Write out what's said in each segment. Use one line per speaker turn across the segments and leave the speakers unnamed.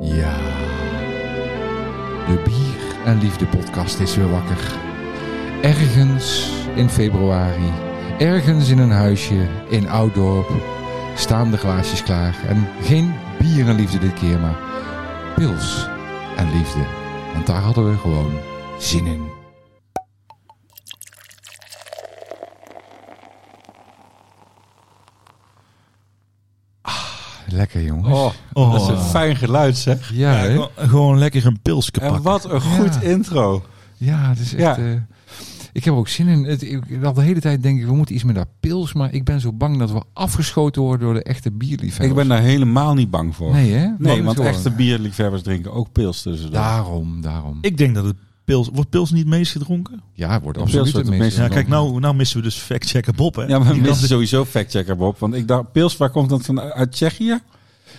Ja, de Bier en Liefde podcast is weer wakker. Ergens in februari, ergens in een huisje in Ouddorp, staan de glaasjes klaar. En geen bier en liefde dit keer, maar pils en liefde. Want daar hadden we gewoon zin in. Ah, Lekker jongens.
Oh, dat is een fijn geluid zeg.
ja, hè?
Gewoon- Gewoon lekker een pilsje
En
pakken.
wat een goed
Ja.
intro.
Ja, het is echt.
Ja.
eh, ik heb er ook zin in. Het, ik, al de hele tijd denk ik, we moeten iets met dat pils. Maar ik ben zo bang dat we afgeschoten worden door de echte bierliefhebbers.
Ik ben daar helemaal niet bang voor.
Nee, hè?
Nee,
Bang
want
voor.
echte bierliefhebbers drinken ook pils tussen.
Daarom, daarom.
Ik denk dat het pils... Wordt pils niet meest gedronken?
ja, het wordt
Een
absoluut
pils
het
wordt het
meest.
meest
Ja,
Gedronken.
kijk, nou, nou missen we dus fact-checker Bob, hè?
Ja, maar
Die
mensen
kan-
sowieso factchecker Bob. Want ik dacht, pils, waar komt dat van? Uit Tsjechië?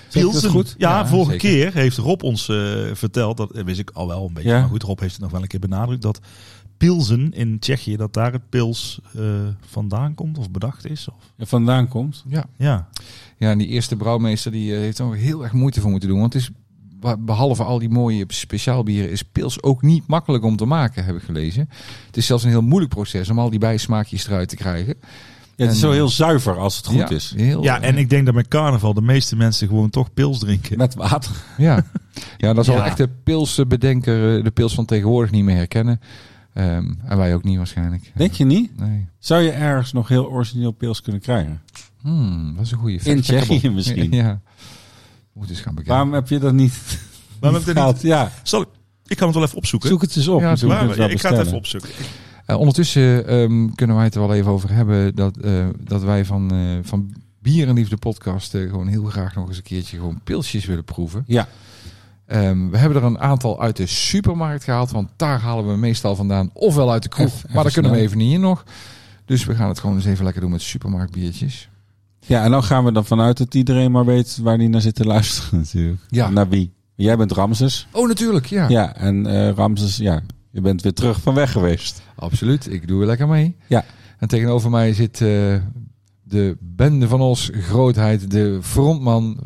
Zeg ik dat
Pilsen.
goed?
Ja,
Ja,
vorige
zeker.
keer heeft Rob ons eh, verteld, dat eh, wist ik al wel een beetje,
Ja.
maar goed, Rob heeft het nog wel een keer benadrukt, dat Pilsen in Tsjechië, dat daar het pils eh, vandaan komt of bedacht is. Of,
Ja, Vandaan komt.
Ja.
ja.
ja, en die eerste brouwmeester die eh, heeft er ook heel erg moeite voor moeten doen. Want het is, wa- behalve al die mooie speciaalbieren, is pils ook niet makkelijk om te maken, heb ik gelezen. Het is zelfs een heel moeilijk proces om al die bijsmaakjes eruit te krijgen.
Ja, het is
En-
zo heel zuiver als het goed
Ja,
is.
heel-
ja, en ik denk dat met carnaval de meeste mensen gewoon toch pils drinken.
Met water.
Ja, ja dan zal
Ja.
echt de pilsbedenker eh, de pils van tegenwoordig niet meer herkennen. Ehm, en wij ook niet waarschijnlijk.
Denk je niet?
Nee.
Zou je ergens nog heel origineel pils kunnen krijgen?
Hmm, dat is een goede
In Tsjechië misschien.
Ja. Moet eens gaan bekijken.
Waarom heb je dat niet
Waarom heb ik dat
gehaald?
niet?
Ja,
Zal ik, ik kan het wel even opzoeken.
zoek het eens op.
Ja,
Misschien
Maar-
kunnen we
ik
het
ga
wel
het even
bestellen.
opzoeken.
Eh, ondertussen ehm, kunnen wij het er wel even over hebben dat, eh, dat wij van, eh, van Bier en Liefde podcast eh, gewoon heel graag nog eens een keertje gewoon pilsjes willen proeven.
Ja.
Ehm, we hebben er een aantal uit de supermarkt gehaald, want daar halen we meestal vandaan. Ofwel uit de kroeg,
Even- even
maar daar kunnen we
snel.
even niet in nog. Dus we gaan het gewoon eens even lekker doen met supermarktbiertjes.
Ja, en dan gaan we dan vanuit dat iedereen maar weet waar die naar zit te luisteren natuurlijk.
Ja.
Naar wie? Jij bent Ramses.
Oh, natuurlijk, ja.
Ja, en eh, Ramses, ja, je bent weer terug van weg geweest.
Absoluut, ik doe er lekker mee.
Ja.
En tegenover mij zit eh, de bende van ons grootheid, de frontman,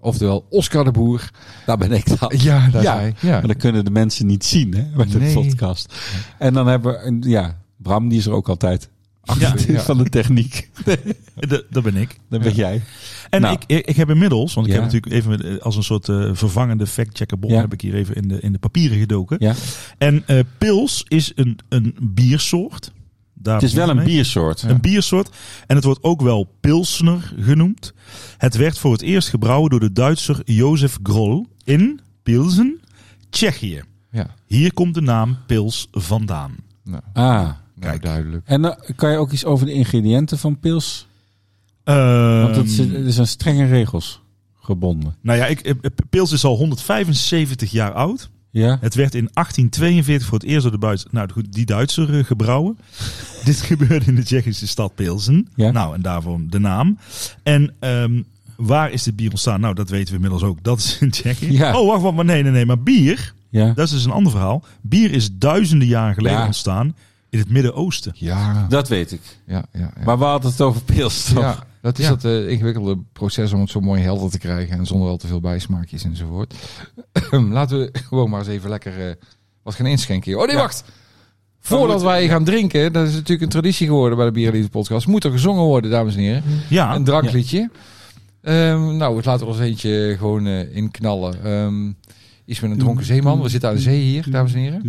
oftewel Oscar de Boer.
Daar ben ik dan.
Ja, daar
Ja.
zei hij. Ja.
Maar dat kunnen de mensen niet zien hè, met de
Nee.
podcast. En dan hebben we, een- ja, Bram die is er ook altijd.
Ja.
Die is van de techniek.
Dat, dat ben ik.
Dan ben jij.
En
Nou.
ik, ik, ik heb inmiddels, want ik
Ja.
heb natuurlijk even met, eh, als een soort eh, vervangende fact-checker Bob,
Ja.
heb ik hier even in de, in de papieren gedoken.
Ja.
En eh, pils is een, een biersoort. Daar
Het is wel
beginnen
een
we mee.
biersoort.
Een biersoort. En het wordt ook wel pilsner genoemd. Het werd voor het eerst gebrouwen door de Duitser Jozef Grol in Pilsen, Tsjechië.
ja.
Hier komt de naam pils vandaan.
Nou,
Ah,
nou, duidelijk.
en dan kan je ook iets over de ingrediënten van pils? Want
Ehm,
het is- er zijn strenge regels gebonden.
nou ja, ik, eh, pils is al 175 jaar oud.
Ja?
Het werd in 1842 voor het eerst door de Duits, nou goed, die Duitser eh, gebrouwen. Dit gebeurde in de Tsjechische stad Pilsen.
Ja.
Nou, en daarvoor de naam. En ehm, waar is dit bier ontstaan? Nou, dat weten we inmiddels ook. Dat is in Tsjechië.
Ja.
Oh, wacht, wacht, maar nee, nee, nee. Maar bier,
Ja.
dat is dus een ander verhaal. Bier is duizenden jaren geleden
Ja.
ontstaan in het Midden-Oosten.
Ja,
Dat weet ik.
ja, ja. ja.
Maar we hadden het over pils toch?
Ja, dat is
Ja.
dat eh, ingewikkelde proces om het zo mooi helder te krijgen en zonder al te veel bijsmaakjes enzovoort. Laten we gewoon maar eens even lekker eh, wat gaan inschenken. Oh nee,
Ja.
wacht! Voordat
moeten-
wij gaan drinken, dat is natuurlijk een traditie geworden bij de Bierliefde podcast, moet er gezongen worden, dames en heren.
Ja,
Een drankliedje. Ehm, nou, het laten we ons eentje gewoon eh, inknallen. Ehm, iets met een dronken zeeman. We zitten aan de zee hier, dames en heren.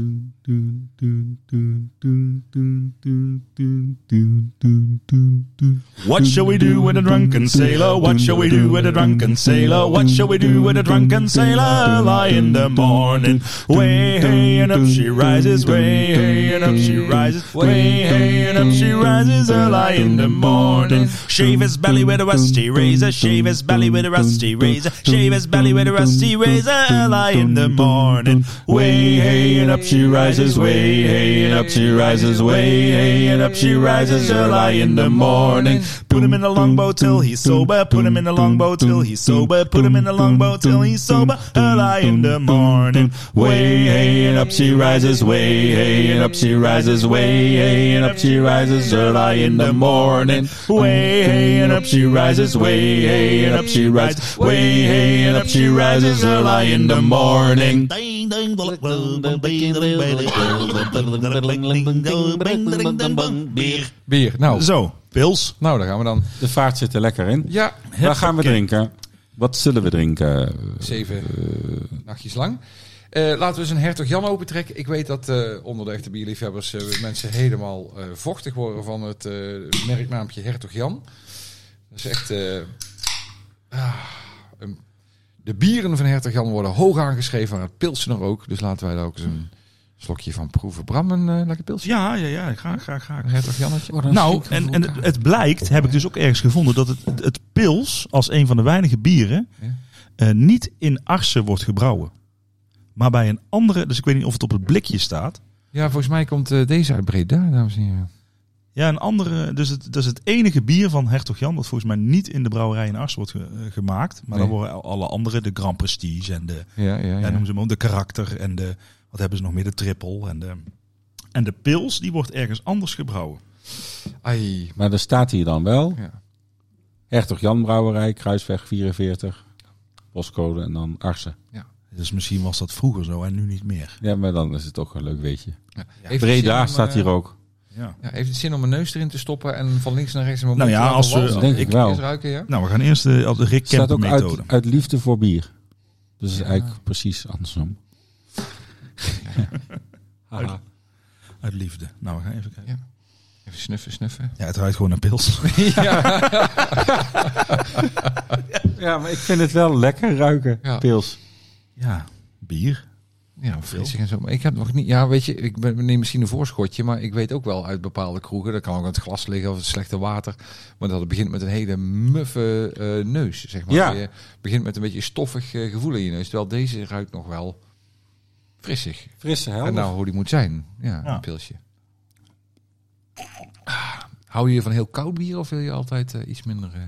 What shall we do with a drunken sailor? What shall we do with a drunken sailor? What shall we do with a drunken sailor? Lie in the morning. Way hey and up she rises. Way hey and up she rises. Way hey and up she rises. Early in the morning. Shave his belly with a rusty razor. Shave his belly with a rusty razor. Shave his belly with a rusty razor. Early in in the morning. Way hey and up she rises, way hey and up she rises, way hey and up she rises early in the morning. Put him in the longboat till he's sober. Put him in the longboat till he's sober. Put him in the longboat till he's sober. Early in the morning. Way hey and up she rises, way hey and up she rises, way hey and up she rises early in the morning. Way hey and up she rises, way hey and up she rises, way hey and up she rises early in the morning.
Bier. Nou,
Zo, Pils.
nou, daar gaan we dan.
De vaart zit er lekker in.
Ja,
Waar gaan we drinken? Wat zullen we drinken?
zeven nachtjes lang. Eh, laten we eens een hertog Jan opentrekken. Ik weet dat eh, onder de echte bierliefhebbers eh, mensen helemaal eh, vochtig worden van het eh, merknaampje hertog Jan. Dat is echt... eh, ah, een- de bieren van hertog Jan worden hoog aangeschreven, maar het pilsen er ook. Dus laten wij daar ook eens een slokje van proeven. Bram, een eh, lekker pilsje?
Ja, ja, ja, graag, graag, graag.
Een hertog Jannetje?
Nou, en, en het, het blijkt, heb ik dus ook ergens gevonden, dat het, het- het pils als een van de weinige bieren
Ja.
eh, niet in Arsen wordt gebrouwen. Maar bij een andere, dus ik weet niet of het op het blikje staat.
Ja, volgens mij komt eh, deze uit Breda, dames en heren.
Ja, een andere, dus het, dat is het enige bier van Hertog Jan dat volgens mij niet in de brouwerij in Arsen wordt ge- eh, gemaakt. Maar
Nee.
dan worden alle andere, de Grand Prestige en de,
Ja, ja,
ja,
ja.
noem ze maar, op, de karakter en de, wat hebben ze nog meer, de triple en de... En de pils, die wordt ergens anders gebrouwen.
Ai.
Maar er staat hier dan wel.
Ja.
Hertog Jan Brouwerij, Kruisweg 44. Postcode en dan Arsen.
Dus misschien was dat vroeger zo en nu niet meer.
Ja, maar dan is het ook een leuk weetje.
Ja. Heeft het zin
Breda
om,
staat
eh,
hier ook.
Ja.
Ja, heeft het zin om mijn neus erin te stoppen en van links naar rechts in mijn
Nou
mond
ja,
te
als
laten
we-
walsen?
Denk ik wel.
Eens ruiken, ja?
Nou, we gaan eerst de, de Rick
staat
Kemp
ook
methode.
uit, uit liefde voor bier. Dus het is
Ja.
eigenlijk precies andersom. Haha.
Uit liefde. Nou, we gaan even kijken.
Even snuffen, snuffen.
Ja, het ruikt gewoon naar pils.
ja.
ja, maar ik vind het wel lekker ruiken,
Ja.
pils.
ja, bier.
ja, frisig en zo. Maar ik heb nog niet... Ja, weet je, ik ben, neem misschien een voorschotje, maar ik weet ook wel uit bepaalde kroegen, dat kan ook aan het glas liggen of het slechte water, maar dat het begint met een hele muffe eh, neus, zeg maar.
Ja.
Je begint met een beetje stoffig eh, gevoel in je neus, terwijl deze ruikt nog wel frissig.
Frisse helder.
En nou, hoe die moet zijn. Ja,
Ja.
een pilsje. Ah, Hou je van heel koud bier of wil je altijd eh, iets minder... eh,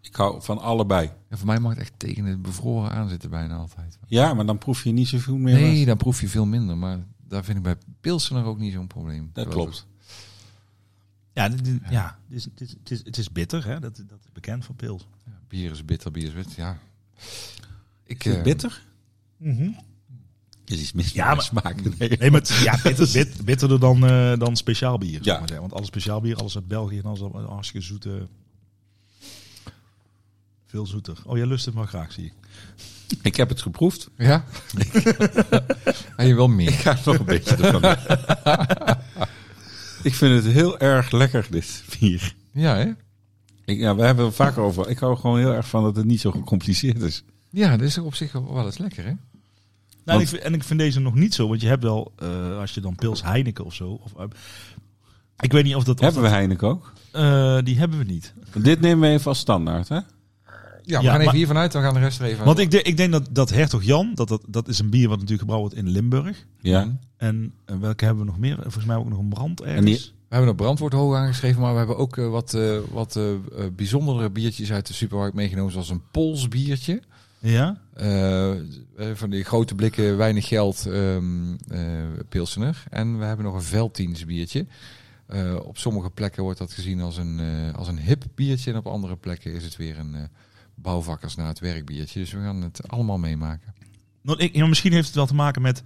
Ik hou van allebei.
Ja, voor mij mag het echt tegen het bevroren aan zitten bijna altijd.
Ja, maar dan proef je niet zoveel meer.
Nee, dan proef je veel minder. Maar daar vind ik bij pilsen nog ook niet zo'n probleem.
Dat
Terwijl
klopt.
Ja, dit, dit- ja. Het, is, het, is, het, is, het is bitter, hè? Dat, dat is bekend van pils.
het- Bier is bitter, bier is wit, ja. Ik,
Is het
eh,
bitter? Ehm, Is iets mis met
Ja, maar-
smaak. Nee.
Nee, maar het- ja, bitter, bit- bitterder dan, eh, dan speciaal bier.
Ja.
Ja. Maar zeggen. Want alle speciaal bier, alles uit België en alles een hartstikke zoete... Veel zoeter. Oh, jij lust het maar graag, zie ik. Nou,
Ik heb het geproefd.
Ja? en je wil meer.
ga nog een beetje ervan weg. Ik vind het heel erg lekker, dit bier.
Ja, hè?
Ik, ja, we hebben het vaker over. Ik hou gewoon heel erg van dat het niet zo gecompliceerd is.
Ja, dat is op zich wel eens lekker, hè?
Nou, en,
Want-
ik vind, en ik vind deze nog niet zo, want je hebt wel, eh, als je dan Pils Heineken of zo... Of, eh, ik weet niet of dat... of
Hebben we Heineken ook?
dat- eh, die hebben we niet.
Dit nemen we even als standaard, hè?
Ja, we
Ja,
gaan even
maar-
hiervan uit, dan gaan de rest er even uit.
Want ik, denk- ik denk dat, dat Hertog Jan, dat, dat, dat is een bier wat natuurlijk gebrouwen wordt in Limburg.
Ja.
En eh, welke hebben we nog meer? Volgens mij ook nog een brand
En die-
ergens.
We hebben een brandwoord hoog aangeschreven, maar we hebben ook eh, wat, eh, wat eh, eh, bijzondere biertjes uit de supermarkt meegenomen. Zoals een Pools biertje.
Ja?
Eh, eh, van die grote blikken, weinig geld, ehm eh, Pilsener. En we hebben nog een Veltiens biertje. Eh, op sommige plekken wordt dat gezien als een, eh, als een hip biertje. En op andere plekken is het weer een eh, bouwvakkers na het werk biertje. Dus we gaan het allemaal meemaken.
Nou, ik, ja, misschien heeft het wel te maken met,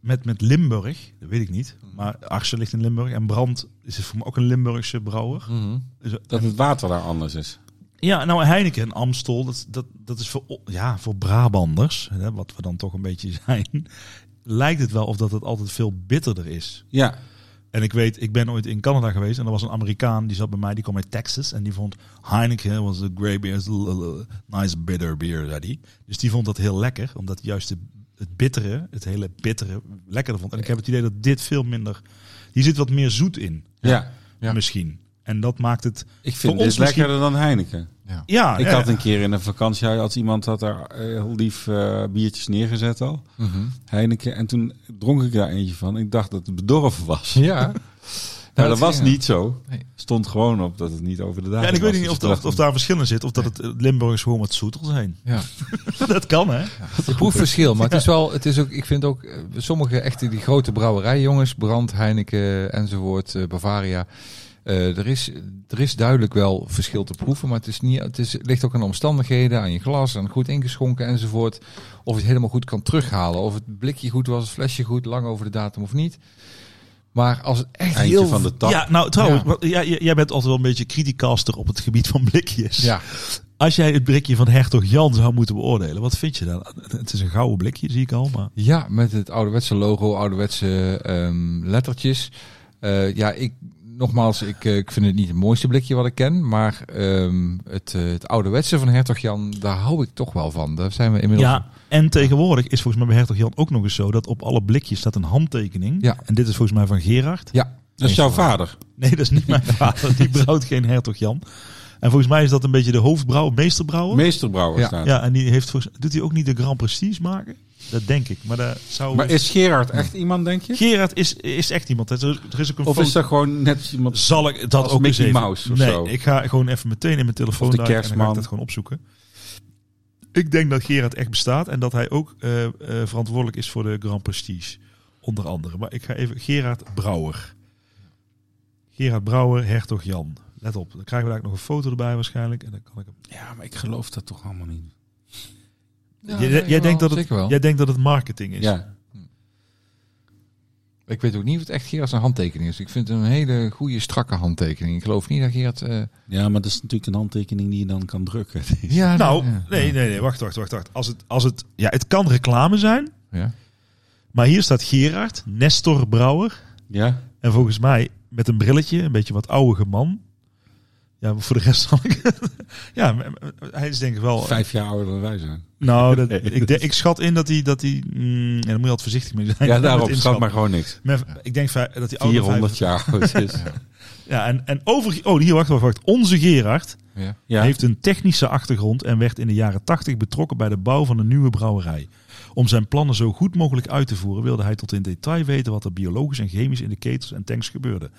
met, met Limburg. Dat weet ik niet. Maar Arsen ligt in Limburg. En Brand is voor me ook een Limburgse brouwer.
Mhm.
Dus-
Dat het water daar anders is.
ja, nou Heineken en Amstel, dat, dat, dat is voor, ja, voor Brabanders, hè, wat we dan toch een beetje zijn, lijkt het wel of dat het altijd veel bitterder is.
Ja.
En ik weet, ik ben ooit in Canada geweest en er was een Amerikaan die zat bij mij, die kwam uit Texas en die vond Heineken was a great beer, is a l- l- nice bitter beer, zei die. Dus die vond dat heel lekker, omdat hij juist de, het bittere, het hele bittere, lekkerder vond. En ik heb het idee dat dit veel minder, hier zit wat meer zoet in,
Ja.
Ja.
misschien. En dat maakt het.
Ik
Voor
vind
ons
dit
misschien-
lekkerder dan Heineken.
Ja,
Ik
ja,
had
ja.
een keer in een vakantie, had iemand had daar eh, heel lief eh, biertjes neergezet al.
Mhm.
Heineken. En toen dronk ik daar eentje van. Ik dacht dat het bedorven was.
Ja.
maar Nou, dat
ja.
was niet zo.
Nee.
Stond gewoon op dat het niet over de dagen
Ja, en ik
was.
weet niet
Dus
of,
ik
er- of,
dacht,
of daar verschillen zitten. Of dat het eh, Limburgers gewoon wat zoeter zijn.
Ja.
dat kan, hè?
Je proeft verschil, maar het is wel, het is ook, ik vind ook eh, sommige echte die grote brouwerijjongens, Brand, Heineken enzovoort, eh, Bavaria. eh, er, is, er is duidelijk wel verschil te proeven, maar het, is niet, het, is, het ligt ook aan de omstandigheden, aan je glas, aan goed ingeschonken enzovoort. Of je het helemaal goed kan terughalen, of het blikje goed was, het flesje goed, lang over de datum of niet. Maar als het echt
Eindje
heel...
van de tap.
Ja, nou trouwens,
Ja.
wat- ja. j- jij bent altijd wel een beetje criticaster op het gebied van blikjes.
Ja,
Als jij het blikje van hertog Jan zou moeten beoordelen, wat vind je dan? Het is een gouden blikje, zie ik al, maar...
Ja, met het ouderwetse logo, ouderwetse ehm, lettertjes. Eh, ja, ik, nogmaals, ik, eh, ik vind het niet het mooiste blikje wat ik ken. Maar ehm, het, eh, het ouderwetse van Hertog Jan, daar hou ik toch wel van. Daar zijn we inmiddels...
Ja, en tegenwoordig is volgens mij bij hertog Jan ook nog eens zo... dat op alle blikjes staat een handtekening.
Ja.
En dit is volgens mij van Gerard.
ja.
Dat is jouw vader.
Nee, dat is niet mijn vader. Die brouwt geen hertog Jan. En volgens mij is dat een beetje de hoofdbrouwer, meesterbrouwer.
Meesterbrouwer
Ja.
staat.
ja, en die heeft volgens, doet hij ook niet de Grand Prestige maken? Dat denk ik, maar daar zou...
Maar is Gerard echt iemand, denk je?
Gerard is, is echt iemand. hè. Er er is ook een
Of
foto-
is dat gewoon net iemand...
Zal ik dat
Als
ook
Mickey
eens even...
Mouse of
nee,
zo.
ik ga gewoon even meteen in mijn telefoon
Of de
duiken en dan ga
kerstman.
ik dat gewoon opzoeken. Ik denk dat Gerard echt bestaat en dat hij ook eh, eh, verantwoordelijk is voor de Grand Prestige. Onder andere. Maar ik ga even... Gerard Brouwer. Gerard Brouwer, hertog Jan. Let op, dan krijgen we daar nog een foto erbij waarschijnlijk. En dan kan ik hem...
Ja, maar ik geloof dat toch allemaal niet.
Ja,
Jij-
nee,
jij denkt dat het-
Zeker wel.
Jij denkt dat het marketing is.
Ja.
Ik weet ook niet of het echt Gerard zijn handtekening is. Ik vind het een hele goede, strakke handtekening. Ik geloof niet dat Gerard... eh,
ja, maar dat is natuurlijk een handtekening die je dan kan drukken.
ja,
Nou,
ja,
nee, nee, nee, wacht, wacht, wacht. wacht. Als het, als het, ja, het kan reclame zijn,
Ja.
maar hier staat Gerard, Nestor Brouwer,
Ja?
En volgens mij met een brilletje, een beetje wat oudige man. Ja, maar voor de rest zal ik... ja, maar- maar hij is denk ik wel...
Vijf jaar ouder dan wij zijn.
Nou, dat,
Nee.
ik, denk- ik schat in dat hij... Dat hij mm, ja, daar moet je altijd voorzichtig mee zijn.
Ja,
Met
daarop schat
inschatten.
maar gewoon niks.
Maar Ik denk vij- Oh, dat hij ouder dan
400 jaar oud is.
vijf- Ja, en, en over... Oh, hier, wacht, wacht, wacht. Onze Gerard
ja.
Ja.
heeft een technische achtergrond... en werd in de jaren 80 betrokken bij de bouw van een nieuwe brouwerij. Om zijn plannen zo goed mogelijk uit te voeren... wilde hij tot in detail weten wat er biologisch en chemisch in de ketels en tanks gebeurde.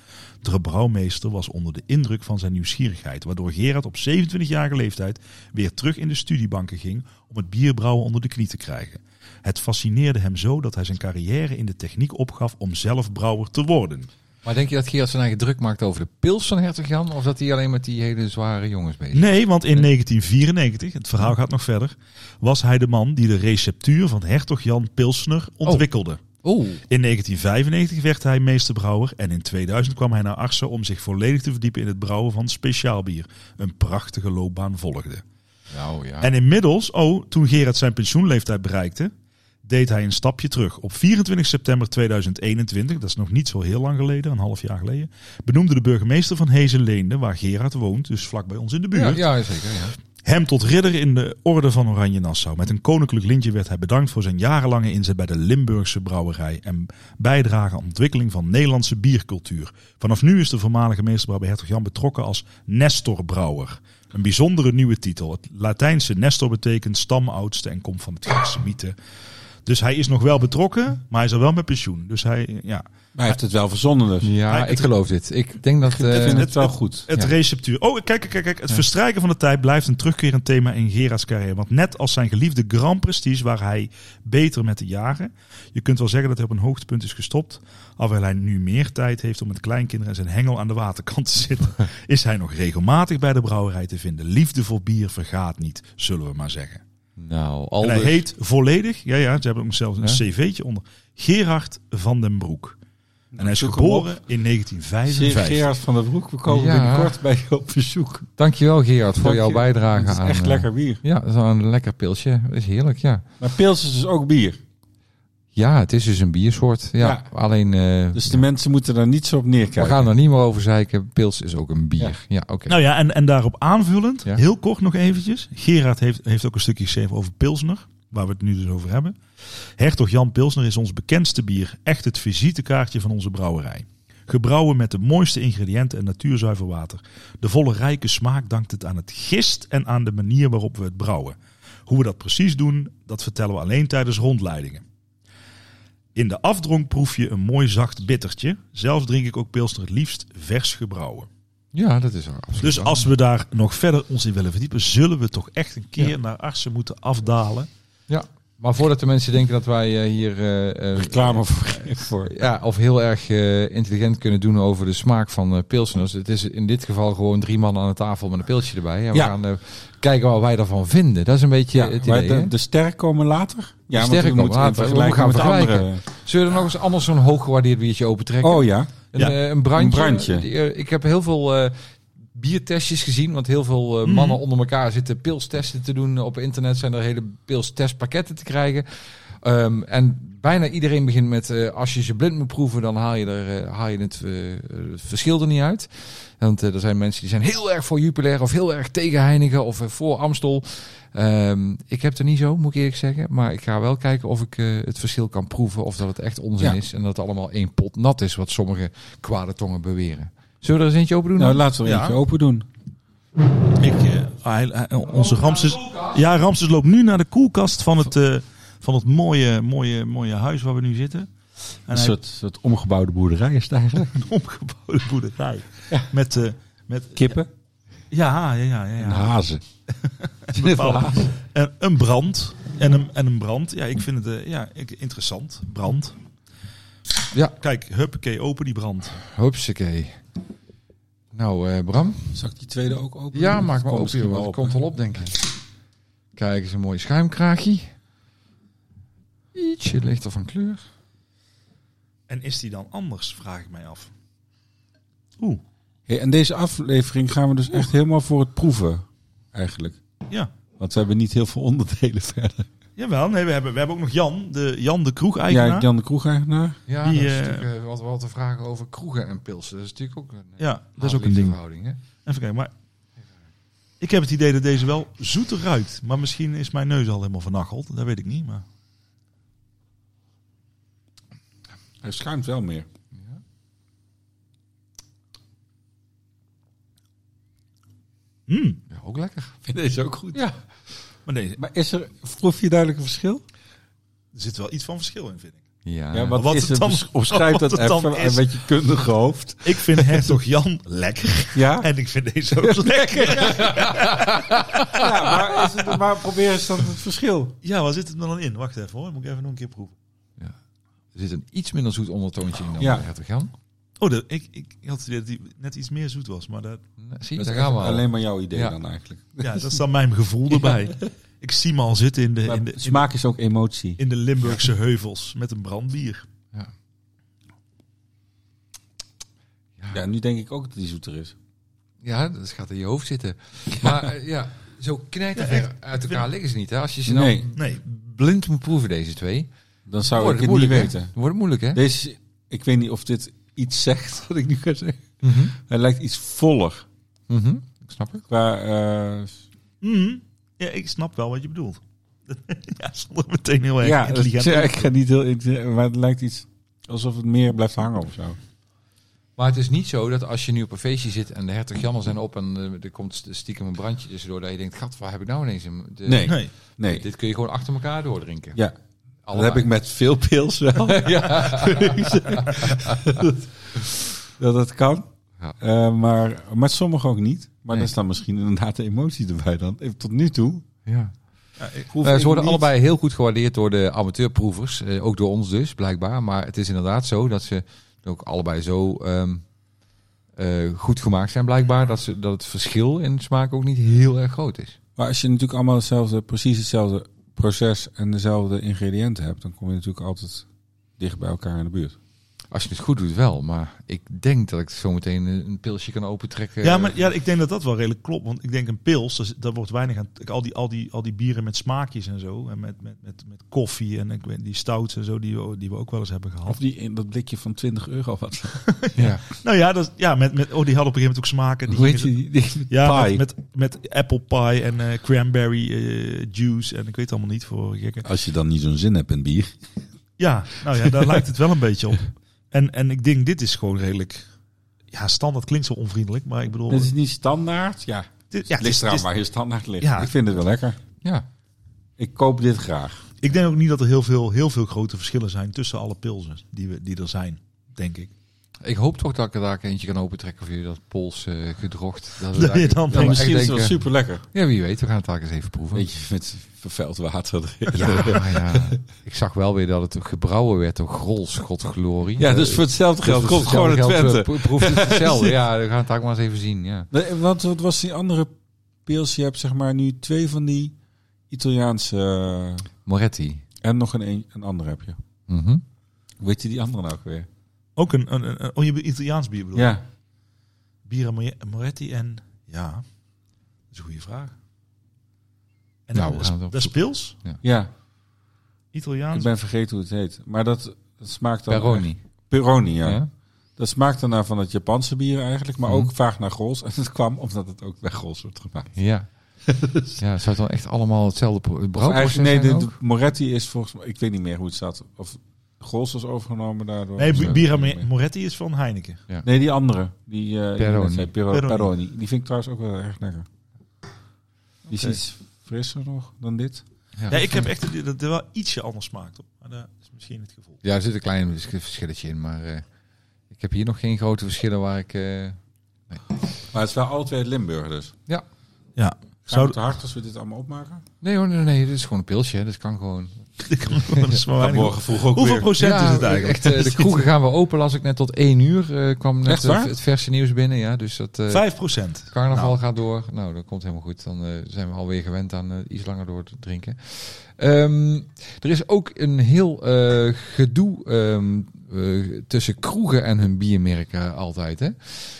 De brouwmeester was onder de indruk van zijn nieuwsgierigheid, waardoor Gerard op 27-jarige leeftijd weer terug in de studiebanken ging om het bierbrouwen onder de knie te krijgen. Het fascineerde hem zo dat hij zijn carrière in de techniek opgaf om zelf brouwer te worden.
Maar denk je dat Gerard zijn eigen druk maakt over de pils van Hertog Jan? Of dat hij alleen met die hele zware jongens bezig is?
Nee, want in 1994, het verhaal gaat nog verder, was hij de man die de receptuur van hertog Jan Pilsner ontwikkelde.
Oeh.
In 1995 werd hij meesterbrouwer en in 2000 kwam hij naar Arsen om zich volledig te verdiepen in het brouwen van speciaalbier. Een prachtige loopbaan volgde.
Nou ja.
En inmiddels, oh, toen Gerard zijn pensioenleeftijd bereikte, deed hij een stapje terug. Op 24 september 2021, dat is nog niet zo heel lang geleden, een half jaar geleden, benoemde de burgemeester van Hezenleende, waar Gerard woont, dus vlakbij ons in de buurt,
ja, ja, zeker. Ja.
hem tot ridder in de Orde van Oranje Nassau. Met een koninklijk lintje werd hij bedankt voor zijn jarenlange inzet bij de Limburgse brouwerij en bijdrage aan de ontwikkeling van Nederlandse biercultuur. Vanaf nu is de voormalige meesterbrouwer Hertog Jan betrokken als Nestorbrouwer. Een bijzondere nieuwe titel. Het Latijnse Nestor betekent stamoudste en komt van het Griekse mythe. Dus hij is nog wel betrokken, maar hij is al wel met pensioen. Dus hij, ja.
Maar hij heeft het wel verzonnen dus.
Ja,
Hij-
ik geloof dit. Ik denk dat...
Ik
eh,
vind het wel goed.
Het
Ja.
receptuur. Oh, kijk, kijk, kijk. Het verstrijken van de tijd blijft een terugkerend thema in Gerards carrière. Want net als zijn geliefde Grand Prestige, waar hij beter met de jaren. Je kunt wel zeggen dat hij op een hoogtepunt is gestopt. Alhoewel hij nu meer tijd heeft om met kleinkinderen en zijn hengel aan de waterkant te zitten. is hij nog regelmatig bij de brouwerij te vinden. Liefde voor bier vergaat niet, zullen we maar zeggen.
Nou, al
En hij
dus-
heet volledig, ja, ja, ze hebben ook zelfs een
Ja?
cv'tje onder. Gerard van den Broek. En hij is
Nou, zoek hem op.
geboren in 1955.
Gerard van der Broek, we komen
Ja.
binnenkort bij je op bezoek.
Dankjewel Gerard voor
Dank
jouw
je.
bijdrage
Het is
aan...
echt
eh,
lekker bier.
Ja, dat is wel een lekker pilsje. Dat is heerlijk, ja.
Maar pils is dus ook bier.
Ja, het is dus een biersoort. Ja,
Ja.
alleen... eh,
Dus de mensen moeten daar niet zo op neerkijken.
we gaan er niet meer over zeiken. Pils is ook een bier. Ja, oké.
Nou ja, en, en daarop aanvullend,
Ja.
heel kort nog eventjes. Gerard heeft, heeft ook een stukje geschreven over Pilsner, waar we het nu dus over hebben. Hertog Jan Pilsner is ons bekendste bier, echt het visitekaartje van onze brouwerij. Gebrouwen met de mooiste ingrediënten en natuurzuiver water. De volle rijke smaak dankt het aan het gist en aan de manier waarop we het brouwen. Hoe we dat precies doen, dat vertellen we alleen tijdens rondleidingen. In de afdronk proef je een mooi zacht bittertje. Zelf drink ik ook pilsner het liefst vers gebrouwen.
Ja, dat is er absoluut.
Dus
waar.
als we daar nog verder ons in willen verdiepen, zullen we toch echt een keer naar artsen moeten afdalen.
Ja. Maar voordat de mensen denken dat wij eh, hier... eh, eh,
Reclame voor. voor.
Ja, of heel erg eh, intelligent kunnen doen over de smaak van eh pilsners. Het is in dit geval gewoon drie man aan de tafel met een pilsje erbij. En we
Ja.
gaan eh, kijken wat wij ervan vinden. Dat is een beetje
Ja,
het
maar
idee. hè?
de, de sterren komen later. Ja,
sterren komen later. We gaan vergelijken.
andere.
Zullen we er nog eens anders zo'n hooggewaardeerd biertje opentrekken?
Oh ja.
Een,
Ja.
eh, een brandje.
Een brandje.
Die, eh, Ik heb heel veel eh biertestjes gezien. Want heel veel
Mm.
eh, mannen onder elkaar zitten pilstesten te doen. Op internet zijn er hele pilstestpakketten te krijgen. Ehm, en bijna iedereen begint met... eh, als je ze blind moet proeven, dan haal je, er, eh, haal je het, eh, eh, het verschil er niet uit. Want eh, er zijn mensen die zijn heel erg voor Jupiler... of heel erg tegen Heineken of eh, voor Amstel. Ehm, ik heb het er niet zo, moet ik eerlijk zeggen. Maar ik ga wel kijken of ik eh, het verschil kan proeven. Of dat het echt onzin
Ja.
is. En dat het allemaal één pot nat is. Wat sommige kwade tongen beweren. Zullen we er eens eentje open doen?
Nou,
dan?
laten we er
Ja.
eentje open doen.
Ik, eh, hij- hij- onze Ramses, ja, Ramses loopt nu naar de koelkast van het, eh, van het mooie, mooie, mooie huis waar we nu zitten. En
Een
hij heeft
soort, soort omgebouwde boerderij is het eigenlijk.
een omgebouwde boerderij. Met, eh, met
Kippen
ja, ja, ja, ja,
en
ja.
hazen.
Een, bepaalde- en een brand. En een, en een brand. Ja, ik vind het eh, ja, ik, interessant. Brand.
Ja.
Kijk, huppakee, open die brand.
Hupsakee. Nou, eh, Bram.
Zal ik die tweede ook open
Ja,
doen?
maak maar
Komt
open.
Hmm, misschien
joh,
wel
want Het
open.
komt wel op, denk ik. Kijk eens, een mooi schuimkraagje. Ietsje lichter van kleur.
En is die dan anders, vraag ik mij af. Oeh,
Hey, en deze aflevering gaan we dus echt helemaal voor het proeven, eigenlijk.
ja.
Want we hebben niet heel veel onderdelen verder.
Jawel, nee, we, hebben, we hebben ook nog Jan, de, Jan de kroeg-eigenaar.
Ja, Jan de Kroeg eigenaar.
Ja,
Die,
dat is
eh,
natuurlijk eh, wat we hadden vragen over kroegen en pilsen. Dat is natuurlijk ook een, eh,
Ja, dat is ook een ding.
verhouding. Hè?
Even kijken, maar ik heb het idee dat deze wel zoeter ruikt. Maar misschien is mijn neus al helemaal vernacheld. Dat weet ik niet, maar...
Hij schuimt wel meer.
Hmm,
Ja, ook lekker.
Vind deze ook goed.
Ja.
maar nee,
Maar is er, proef je duidelijk een verschil?
er zit wel iets van verschil in, vind ik.
Ja,
Ja, wat,
wat
is
het
het?
dan-
Besch- Omschrijf
wat
dat
het dan
even
is.
met je kundige hoofd.
Ik vind hertog Jan lekker.
Ja?
En ik vind deze ook lekker.
ja maar, is het, maar probeer eens dan het verschil.
Ja, waar zit het dan in? Wacht even hoor, moet ik even nog een keer proeven.
Er zit een iets minder zoet ondertoontje in dan
Ja.
bij Hertog Jan.
Oh, de, ik, ik had het idee dat die net iets meer zoet was. Maar dat,
Nou, Zie,
Dat
daar
is
gaan we al.
alleen maar jouw idee
Ja.
dan eigenlijk.
ja, dat is dan mijn gevoel erbij. Ik zie me al zitten in de,
Maar
in de, in de,
smaak is ook emotie.
in de Limburgse heuvels met een brandbier.
Ja, nu denk ik ook dat die zoeter is.
Ja, dat gaat in je hoofd zitten. Maar eh, ja, zo knijterver uit elkaar liggen ze niet. Hè? Als je ze nou
Nee.
Nee,
blind moet proeven, deze twee,
Dan zou
wordt
ik het
het
niet
moeilijk, hè?
weten.
Dan wordt het moeilijk, hè?
Deze, ik weet niet of dit iets zegt wat ik nu ga zeggen.
Mhm.
Hij lijkt iets voller.
Mhm. Ik snap het.
Qua, eh,
Mhm. Ja, ik snap wel wat je bedoelt. ja, zonder meteen heel erg
ja, dat-
intelligent.
ja, ik ga niet heel intelligent, maar het lijkt iets alsof het meer blijft hangen of zo.
Maar het is niet zo dat als je nu op een feestje zit en de hertog Jannen zijn op en eh, er komt st- stiekem een brandje tussendoor, dat je denkt, gat, waar heb ik nou ineens een... de-
Nee.
Nee.
Nee,
Dit kun je gewoon achter elkaar doordrinken.
ja. Dat
Allebei.
heb ik met veel pils wel. dat dat kan.
Ja.
Eh, maar met sommigen ook niet. Maar
Nee.
er staan misschien inderdaad de emotie erbij dan. Eh, Tot nu toe.
Ja.
Ja, ik-
proef
Eh,
ik
ze worden
niet-
allebei heel goed gewaardeerd door de amateurproevers. eh, ook door ons dus, blijkbaar. Maar het is inderdaad zo dat ze ook allebei zo ehm, eh, goed gemaakt zijn, blijkbaar. Dat, ze, dat het verschil in smaak ook niet heel erg groot is.
Maar als je natuurlijk allemaal hetzelfde, precies hetzelfde proces en dezelfde ingrediënten hebt, dan kom je natuurlijk altijd dicht bij elkaar in de buurt.
Als je het goed doet wel, maar ik denk dat ik zo meteen een een pilsje kan opentrekken.
eh.
Ja, maar ja, ik denk dat dat wel redelijk klopt. Want ik denk een pils, daar, zit- daar wordt weinig aan. Al die, al, die, al die bieren met smaakjes en zo. En met, met, met, met koffie en ik weet, die stouts en zo, die, we- die we ook wel eens hebben gehad.
Of die in dat blikje van 20 euro wat.
Ja.
Nou ja, dat, ja met, met, oh, die hadden op een gegeven moment ook smaken. Die
Hoe heet
gingen
die? die-
zo- Ja,
pie.
met, met, met apple pie en eh, cranberry eh, juice en ik weet het allemaal niet voor gekken.
Als je dan niet zo'n zin hebt in bier.
Ja, nou ja, daar lijkt het wel een beetje op. En, en ik denk, dit is gewoon redelijk... Ja, standaard klinkt zo onvriendelijk, maar ik bedoel...
Het is niet standaard. Ja, ja
dit- ja, het
het
is-
ligt eraan
het is-
waar je standaard ligt.
Ja.
Ik vind het wel lekker.
Ja.
Ik koop dit graag.
ik denk ook niet dat er heel veel, heel veel grote verschillen zijn tussen alle pilsen die, we, die er zijn, denk ik.
Ik hoop toch dat ik er daar eentje kan opentrekken voor je dat Pools eh, gedrocht. Dat we
Dat
daar-
je dan
dat we echt
denkt,
misschien is het wel
denken,
super lekker.
Ja, wie weet. We gaan het daar eens even proeven.
Weet je, met vervuild water. erin.
Ja, maar ja, ik zag wel weer dat het gebrouwen werd door Grols, godglorie.
Ja, dus voor hetzelfde
Dus
geld
voor
komt gewoon
hetzelfde
een
geld,
Twente.
eh, pro- Proeft het hetzelfde. Ja, we gaan het daar maar eens even zien. Ja.
Nee, Want wat was die andere pils? Je hebt zeg maar nu twee van die Italiaanse... eh,
Moretti.
en nog een, een, een andere heb je.
Mhm.
Hoe heet je die andere nou ook weer?
Ook een, een, een- oh, je hebt Italiaans bier bedoel je?
Ja.
Bira Moe- Moretti en... Ja, dat is een goede vraag. En
Nou,
nou,
we
dat,
gaan het
is- dat is pils?
Ja, ik
Italiaans?
ben vergeten hoe het heet. Maar dat, dat smaakt dan...
Peroni.
Peroni, ja.
Ja.
Dat smaakt dan naar van het Japanse bier eigenlijk, maar
Mhm.
ook vaak naar Grols. En dat kwam omdat het ook bij Grols wordt gemaakt.
Ja. ja, zou het dan echt allemaal hetzelfde pro- het
Of
brouwproces
eigenlijk, nee,
zijn
de,
ook?
de Moretti is volgens mij... Ik weet niet meer hoe het staat. Of Grols was overgenomen daardoor.
Nee,
Zo,
Bi- Bira
ik weet
Mo-
niet meer.
Moretti is van Heineken.
Nee, die andere. Die, eh
Peroni.
Peroni. Peroni.
Peroni.
Die vind ik trouwens ook wel erg lekker. Die is
Oké.
iets frisser nog dan dit.
Ja,
Ja, ik heb echt het idee dat er wel ietsje anders smaakt op. Maar dat is misschien het gevoel.
ja, er zit een klein vers- verschilletje in, maar eh, ik heb hier nog geen grote verschillen waar ik... eh,
Maar het is wel alle twee uit Limburg dus. Gaan we
Zou
te hard als we dit allemaal opmaken?
Nee hoor, nee, nee, dit is gewoon een pilsje. hè. Dit kan gewoon...
ik kan me wel eens maar weinig op.
vroeg ook
Hoeveel procent
Ja,
is het eigenlijk?
Echt, eh, de kroegen gaan we open, las ik net tot één uur. eh, kwam net
Echt waar?
het, het verse nieuws binnen, ja. Dus dat... eh,
Vijf procent.
Carnaval
Nou.
gaat door. Nou, dat komt helemaal goed. Dan eh, zijn we alweer gewend aan eh, iets langer door te drinken. Ehm, er is ook een heel eh, gedoe ehm, eh, tussen kroegen en hun biermerken altijd. Hè?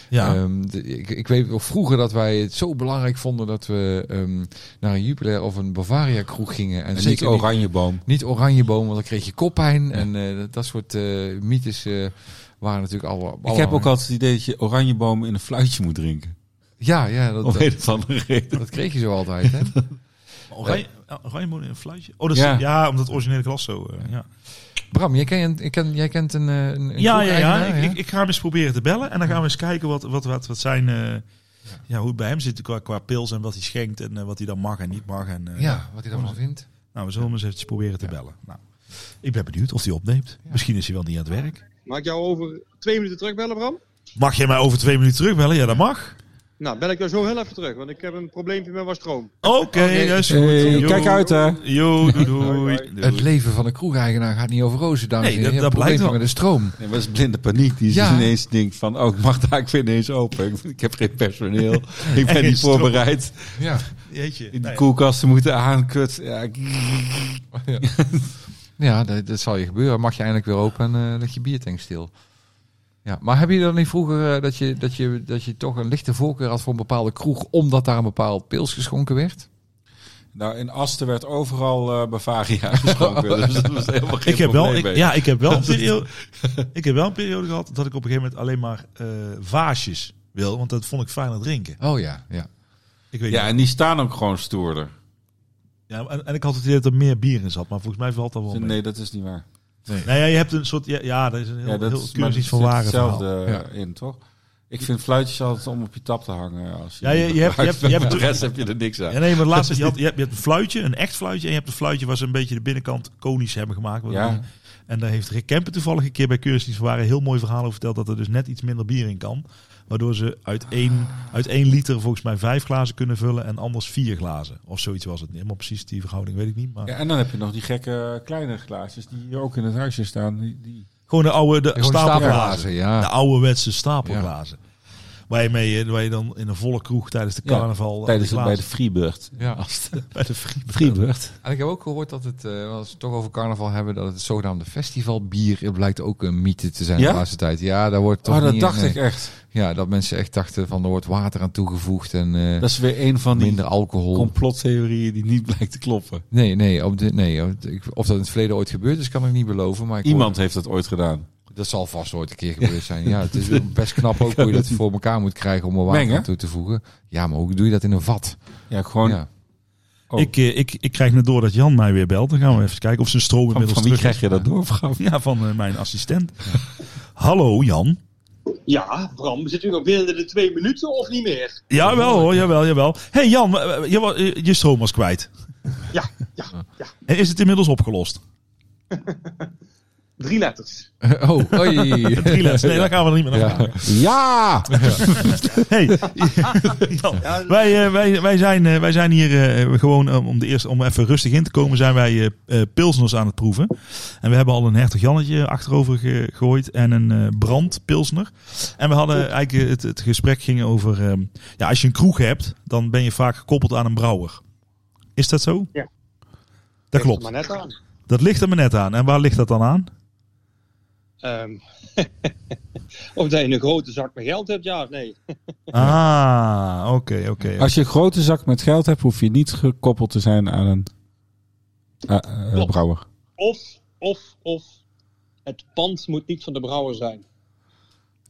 Ja.
Ehm, de- ik, ik weet nog vroeger dat wij het zo belangrijk vonden dat we ehm, naar een Jupiler of een Bavaria kroeg gingen. En,
En
zeker
zeker
niet-
Oranjeboom.
niet Oranjeboom, want dan kreeg je koppijn. En eh, dat- dat soort eh, mythes eh, waren natuurlijk al.
Ik heb ook altijd het idee dat je Oranjeboom in een fluitje moet drinken.
Ja, ja dat,
Om
dat,
een of andere reden.
dat kreeg je zo altijd. Hè?
Oranje, eh, oranje in een fluitje? Oh, dat is, ja.
Ja.
omdat het originele glas zo... eh, ja,
Bram, jij kent, ik ken, jij kent een, eh, een, een
ja, ja, ja.
kroegeigenaar,
Ik, ik, ik ga hem eens proberen te bellen. En dan gaan we eens kijken wat, wat, wat, wat zijn... eh, ja, hoe het bij hem zit qua, qua pils en wat hij schenkt. En eh, wat hij dan mag en niet mag. En, eh,
ja, wat hij daarvan vindt.
Nou, we zullen hem eens eventjes proberen te bellen. Nou, ik ben benieuwd of hij opneemt. Misschien is hij wel niet aan het werk.
Mag ik jou over twee minuten terugbellen, Bram?
Mag jij mij over twee minuten terugbellen? Ja, dat mag.
Nou, bel ik jou zo heel even terug, want ik heb een probleempje met mijn stroom.
Oké, dat is goed.
Hey,
Joe.
kijk uit hè.
Yo, doei, doei.
Doei,
Het
Doei.
leven van een kroegeigenaar gaat niet over rozen, dames
Nee,
en heren.
dat- dat
Je hebt
blijkt wel.
problemen met de stroom.
Nee, maar dat is blinde paniek. Die
Ja.
is ineens denkt van, oh, ik mag daar ik vind ineens open. Ik, ik heb geen personeel. ik
geen
ben niet
stroom.
voorbereid.
Ja.
Jeetje.
Die
Nee.
koelkasten moeten aankut. Ja, ik-
Ja, dat, dat zal je gebeuren. Mag je eindelijk weer open en eh, leg je biertank stil. Ja, maar heb je dan niet vroeger eh, dat, je, dat, je, dat je toch een lichte voorkeur had voor een bepaalde kroeg, omdat daar een bepaald pils geschonken werd?
Nou, in Asten werd overal eh, Bavaria geschonken. dus dat was helemaal geen
Ik heb, wel,
probleem
ik,
mee.
ja, ik, heb wel een periode, ik heb wel een periode gehad dat ik op een gegeven moment alleen maar eh, vaasjes wil. Want dat vond ik fijner drinken.
Oh ja, ja.
Ik weet
Ja,
niet.
en die staan ook gewoon stoerder. Dus
Ja, en, en ik had het idee dat er meer bier in zat. Maar volgens mij valt dat wel mee.
Nee, dat is niet waar.
Nou ja, je hebt een soort... Ja, ja dat is een heel,
Ja, dat
heel
is maar
cursus
er
iets van
zit
waren
hetzelfde eh,
verhaal.
verhaal.
in, toch? Ik vind fluitjes altijd om op je tap te hangen. Als je
Ja, je- je hebt- je hebt- je hebt-
Met de rest heb je er niks aan.
Ja, nee, maar laatst, je, had, je, hebt, je hebt een fluitje, een echt fluitje. En je hebt een fluitje waar ze een beetje de binnenkant conisch hebben gemaakt. Wat-
Ja.
En daar heeft Rick Kempen toevallig een keer bij Cursus waren een heel mooi verhaal over verteld. Dat er dus net iets minder bier in kan. Waardoor ze uit één, uit één liter volgens mij vijf glazen kunnen vullen. En anders vier glazen. Of zoiets was het. niet Helemaal precies die verhouding weet ik niet. Maar
Ja, en dan heb je nog die gekke eh, kleine glaasjes die hier ook in het huisje staan. Die, die...
gewoon de oude de
Gewoon
stapelglazen.
stapelglazen, ja.
De ouderwetse stapelglazen. Waar, je mee, eh, waar je dan in een volle kroeg tijdens de
Ja,
carnaval... al
Tijdens
die
het bij de
glazen-
Freebird.
ja.
bij de Friet.
Freebird?
En ik heb ook gehoord dat het, eh, als we het toch over carnaval hebben, dat het zogenaamde festivalbier het blijkt ook een mythe te zijn
Ja?
de laatste tijd. Ja, daar wordt toch
Oh, dat
niet-
dacht
nee.
ik echt.
Ja, dat mensen echt dachten van er wordt water aan toegevoegd en eh,
Dat is weer een van die
minder alcohol.
complottheorieën die niet blijkt te kloppen.
nee, nee, op de, nee, op de- ik- of dat in het verleden ooit gebeurd is, kan ik niet beloven. Maar ik
Iemand heeft dat ooit gedaan.
hoor- dat zal vast ooit een keer gebeurd zijn. Ja, het is best knap ook hoe je dat voor elkaar moet krijgen om er water
Mengen?
aan toe te voegen. Ja, maar hoe doe je dat in een vat?
Ja, gewoon
ja.
Oh.
Ik, eh, ik, ik krijg net door dat Jan mij weer belt. Dan gaan we even kijken of zijn stroom
Van,
inmiddels
van wie krijg
terug is.
je dat door? Frank?
Ja, van eh, mijn assistent. Hallo Jan.
Ja, Bram, zit u nog binnen de twee minuten of niet meer?
Jawel hoor, jawel, jawel. hey Jan, eh, eh, je, wa- eh, je stroom was kwijt.
Ja, ja, ja.
En is het inmiddels opgelost?
Drie letters.
Oh, oei.
Drie letters. Nee, daar gaan we er niet meer naar vragen.
Ja. ja!
Hey, Jan, wij, eh, wij, wij, zijn, eh, wij zijn hier eh, gewoon eh, om, de eerste, om even rustig in te komen, zijn wij eh, eh, pilsners aan het proeven. En we hebben al een hertog Jannetje achterover ge- gegooid en een eh, brandpilsner. En we
Oh.
hadden eigenlijk eh, het, het gesprek ging over, ehm, ja, als je een kroeg hebt, dan ben je vaak gekoppeld aan een brouwer. Is dat zo?
Ja.
Dat
Ligt er
klopt.
Maar net aan.
Dat ligt er maar net aan. En waar ligt dat dan aan?
Ehm, of dat je een grote zak met geld hebt, ja of nee.
Ah, oké, oké.
Als je een grote zak met geld hebt, hoef je niet gekoppeld te zijn aan een eh, eh,
Klopt.
brouwer.
Of, of, of. Het pand moet niet van de brouwer zijn.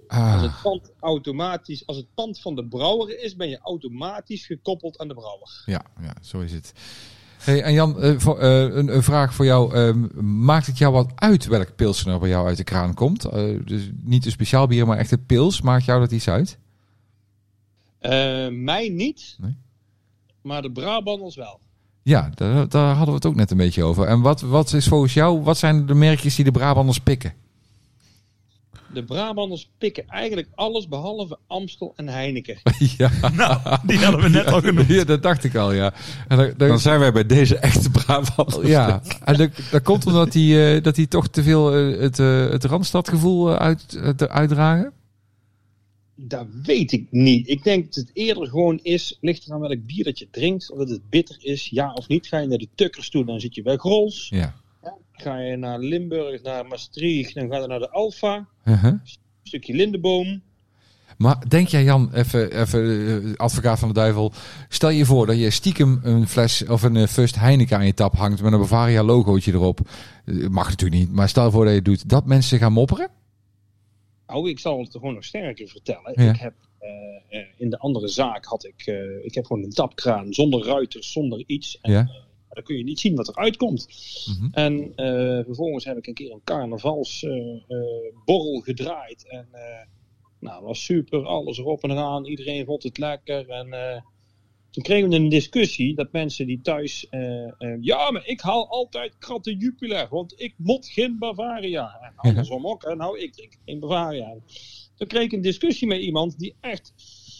Als
Ah,
het pand automatisch, als het pand van de brouwer is, ben je automatisch gekoppeld aan de brouwer.
ja, ja, zo is het. Hey, en Jan, eh, voor- eh, een, een vraag voor jou. Ehm, maakt het jou wat uit welk pilsner bij jou uit de kraan komt? Eh, dus niet een speciaal bier, maar echt een pils. Maakt jou dat iets uit?
Eh, mij niet,
Nee.
maar de Brabanders wel.
Ja, daar, daar hadden we het ook net een beetje over. En wat, wat is volgens jou, wat zijn de merkjes die de Brabanders pikken?
De Brabanders pikken eigenlijk alles behalve Amstel en Heineken.
ja,
Nou, die hadden we net al genoemd.
ja, dat dacht ik al, ja. En daar- daar-
Dan zijn wij bij deze echte Brabant.
ja, en dat, dat komt omdat die, eh, dat die toch te veel eh, het, eh, het Randstadgevoel eh, uit, eh, uitdragen?
Dat weet ik niet. Ik denk dat het eerder gewoon is, ligt eraan welk bier dat je drinkt, of dat het bitter is, ja of niet. Ga je naar de tukkers toe, dan zit je bij Grols.
Ja.
Ga je naar Limburg, naar Maastricht, dan ga je naar de Alfa, een
Uh-huh.
stukje Lindeboom.
Maar denk jij, Jan, even, even eh, advocaat van de duivel. Stel je voor dat je stiekem een fles of een eh, First Heineken aan je tap hangt met een Bavaria logootje erop. Eh, Mag natuurlijk niet, maar stel voor dat je het doet. Dat mensen gaan mopperen?
Nou, ik zal het gewoon nog sterker vertellen.
Ja.
Ik heb eh, eh, in de andere zaak had ik, eh, ik heb gewoon een tapkraan zonder ruiters, zonder iets. En,
Ja.
eh, dan kun je niet zien wat eruit komt.
Mhm.
En eh, vervolgens heb ik een keer een carnavalsborrel borrel gedraaid. En eh nou, was super, alles erop en eraan. Iedereen vond het lekker. En eh, toen kregen we een discussie dat mensen die thuis. eh, eh, ja, maar ik haal altijd kratten Jupiler, want ik mot geen Bavaria. En andersom ook, hè. nou, ik drink geen Bavaria. Toen kreeg ik een discussie met iemand die echt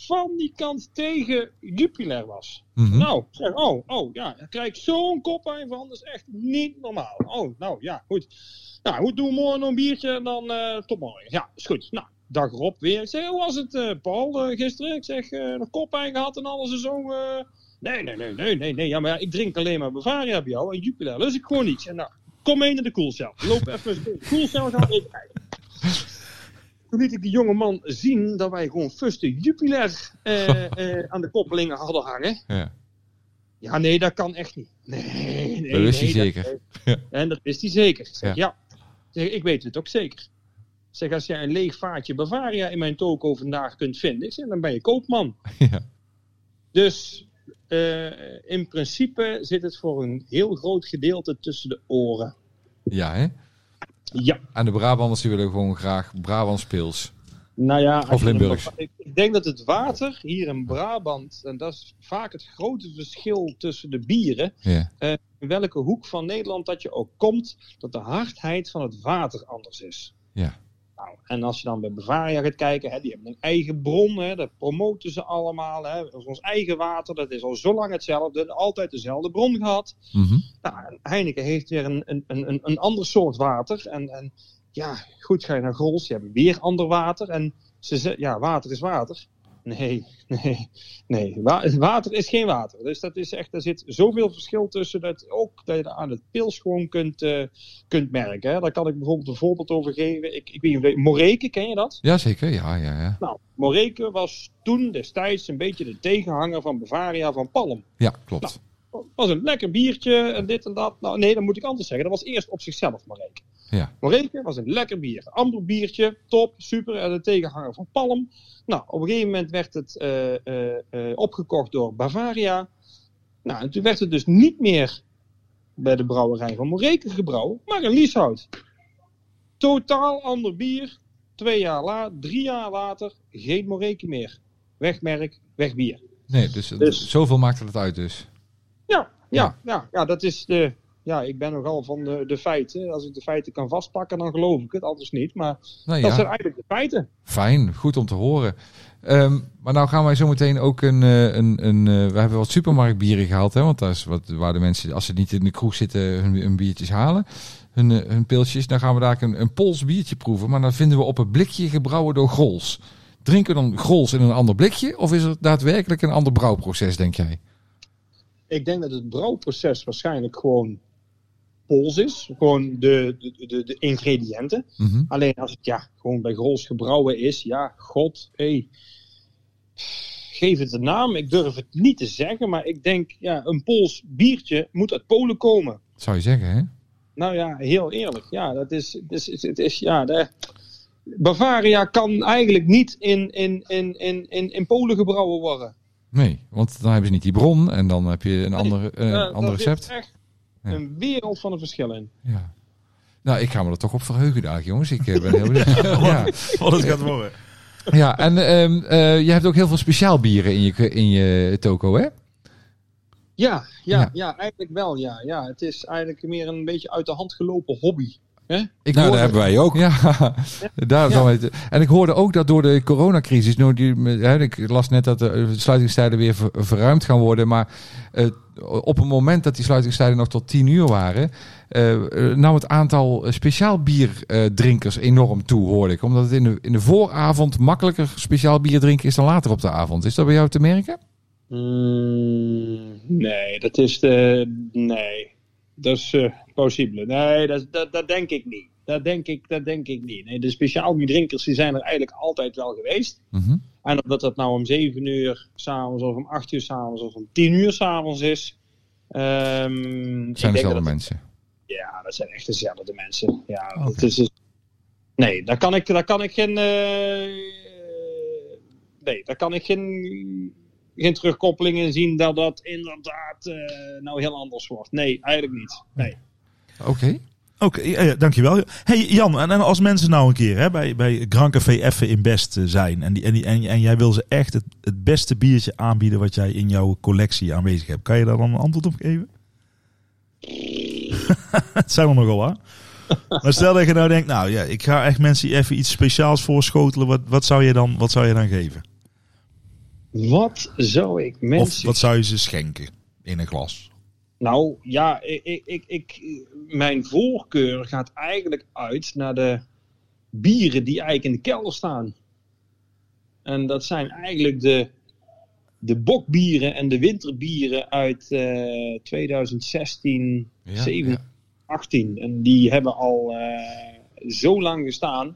van die kant tegen Jupiler was.
Mhm.
Nou, zeg, oh, oh, ja, daar krijg ik zo'n koppijn van, dat is echt niet normaal. Oh, nou, ja, goed. Nou, goed, doen we morgen nog een biertje en dan eh, tot morgen. Ja, is goed. Nou, dag erop weer. Ik zeg, hoe was het, eh, Paul, eh, gisteren? Ik zeg, eh nog koppijn gehad en alles en zo. eh. Nee, nee, nee, nee, nee, nee. Ja, maar ja, ik drink alleen maar Bavaria bij jou en Jupiler, dus ik gewoon niet. Ik zeg, nou, kom mee naar de koelcel. Loop even naar de koelcel, gaan we even kijken. Toen liet ik die jonge man zien dat wij gewoon fuste Jupiler eh, eh, aan de koppelingen hadden hangen.
Ja.
Ja, nee, dat kan echt niet. Nee, nee,
Dat wist
nee,
hij zeker. Ja.
En dat wist hij zeker. Ik zeg,
Ja.
ja. Ik zeg, ik weet het ook zeker. Ik zeg, als jij een leeg vaatje Bavaria in mijn toko vandaag kunt vinden, ik zeg, dan ben je koopman.
Ja.
Dus eh, in principe zit het voor een heel groot gedeelte tussen de oren.
ja, hè?
Ja,
En de Brabanders die willen gewoon graag Brabants pils.
nou ja. als
Of
je dan-
Limburgs.
Ik, ik denk dat het water hier in Brabant, en dat is vaak het grote verschil tussen de bieren, eh,
Ja.
in welke hoek van Nederland dat je ook komt, dat de hardheid van het water anders is.
Ja.
Nou, en als je dan bij Bavaria gaat kijken, hè, die hebben een eigen bron, hè, dat promoten ze allemaal. Hè. Ons eigen water, dat is al zo lang hetzelfde, altijd dezelfde bron gehad.
Mhm.
Nou, en Heineken heeft weer een, een, een, een- een ander soort water. En, en ja, goed, ga je naar Grols, die hebben weer ander water. En ze zeggen, ja, water is water. Nee, nee, nee. Wa- water is geen water. Dus dat is echt, er zit zoveel verschil tussen dat ook dat je dat aan het pils gewoon kunt, eh, kunt merken. Hè. Daar kan ik bijvoorbeeld een voorbeeld over geven. Ik, ik weet niet, of- Moreke, ken je dat?
Jazeker, ja, ja, ja.
Nou, Moreke was toen destijds een beetje de tegenhanger van Bavaria van Palm
Ja,
Nou.
klopt.
was een lekker biertje en dit en dat. Nou, nee, dat moet ik anders zeggen. Dat was eerst op zichzelf, Mareke.
Ja.
Mareke was een lekker bier. Amber biertje, top, super. En de tegenhanger van Palm. Nou, op een gegeven moment werd het eh, eh, eh, opgekocht door Bavaria. Nou, en toen werd het dus niet meer bij de brouwerij van Moreken gebrouwen, maar in Lieshout. Totaal ander bier. Twee jaar later, drie jaar later, geen Moreken meer. Wegmerk, weg bier.
Nee, dus,
Dus-
zoveel maakte het uit dus.
Ja,
Ja.
ja, ja, ja, dat is de. Ja, ik ben nogal van de, de feiten. Als ik de feiten kan vastpakken, dan geloof ik het, anders niet. Maar
Nou
dat
ja,
zijn eigenlijk de feiten.
fijn. Goed om te horen. Ehm, maar nou gaan wij zo meteen ook een... eh, een, een eh, we hebben wat supermarktbieren gehaald. Hè, want daar is wat, waar de mensen, als ze niet in de kroeg zitten, hun, hun biertjes halen. Hun, eh, hun pilsjes. Dan gaan we daar een, een Pools biertje proeven. Maar dan vinden we op een blikje gebrouwen door Grols. Drinken we dan Grols in een ander blikje? Of is er daadwerkelijk een ander brouwproces, denk jij?
Ik denk dat het brouwproces waarschijnlijk gewoon pols is. Gewoon de, de, de, de ingrediënten.
Mhm.
Alleen als het ja, gewoon bij Grols gebrouwen is, ja, god, hé. Geef het een naam, ik durf het niet te zeggen, maar ik denk, ja, een Pools biertje moet uit Polen komen.
Zou je zeggen, hè?
Nou ja, heel eerlijk. Ja, dat is. Het is, het is, het is- ja, de, Bavaria kan eigenlijk niet in, in, in, in, in, in Polen gebrouwen worden.
Nee, want dan hebben ze niet die bron en dan heb je een andere, eh,
Ja,
ander
daar zit
recept.
echt
Ja.
een wereld van een verschil in.
Ja. Nou, ik ga me er toch op verheugen daar, jongens. Ik eh, ben heel benieuwd. Ja,
Wat het gaat worden.
ja en ehm, eh, je hebt ook heel veel speciaal bieren in je, in je toko, hè?
Ja, ja,
Ja.
ja. eigenlijk wel. Ja, ja. Het is eigenlijk meer een beetje uit de hand gelopen hobby.
Ik
nou,
hoorde-
daar hebben wij ook.
Ja, daar dan het. En ik hoorde ook dat door de coronacrisis, nou, die, hè, ik las net dat de eh, sluitingstijden weer ver- verruimd gaan worden, maar eh, op het moment dat die sluitingstijden nog tot 10 uur waren, eh, eh, nam het aantal speciaal bierdrinkers enorm toe, hoorde ik. Omdat het in de, in de vooravond makkelijker speciaal bier drinken is dan later op de avond. Is dat bij jou te merken?
Mm, nee, dat is de. Nee. Dat is eh plausibel. Nee, dat, dat, dat denk ik niet. Dat denk ik, dat denk ik niet. Nee, de speciaal drinkers die zijn er eigenlijk altijd wel geweest.
Mhm.
En omdat dat nou om 7 uur s'avonds of om 8 uur s'avonds of om 10 uur s'avonds is. ehm, ik
Zijn
denk
dezelfde
dat-
mensen.
Ja, dat zijn echt dezelfde mensen. Ja, dat is, dus- nee, daar kan ik, daar kan ik geen. eh, nee, daar kan ik geen, geen terugkoppeling in zien dat dat inderdaad eh, nou heel anders wordt. Nee, eigenlijk niet. Nee.
Oké.
Oké, ja, ja, eh, dankjewel. Hey Jan, en, en als mensen nou een keer hè, bij, bij Grand Café Effen in Best eh, zijn en, die, en, die, en, en jij wil ze echt het, het beste biertje aanbieden wat jij in jouw collectie aanwezig hebt, kan je daar dan een antwoord op geven? Het zijn er nogal waar. Maar stel dat je nou denkt, nou ja, ik ga echt mensen hier even iets speciaals voorschotelen. Wat, wat, zou, je dan, wat zou je dan geven?
Wat zou ik
Of
mensen.
wat zou je ze schenken in een glas?
Nou ja, ik, ik, ik, ik, mijn voorkeur gaat eigenlijk uit naar de bieren die eigenlijk in de kelder staan. En dat zijn eigenlijk de, de bokbieren en de winterbieren uit eh 2016,
Ja,
17,
ja.
18. En die hebben al eh, zo lang gestaan.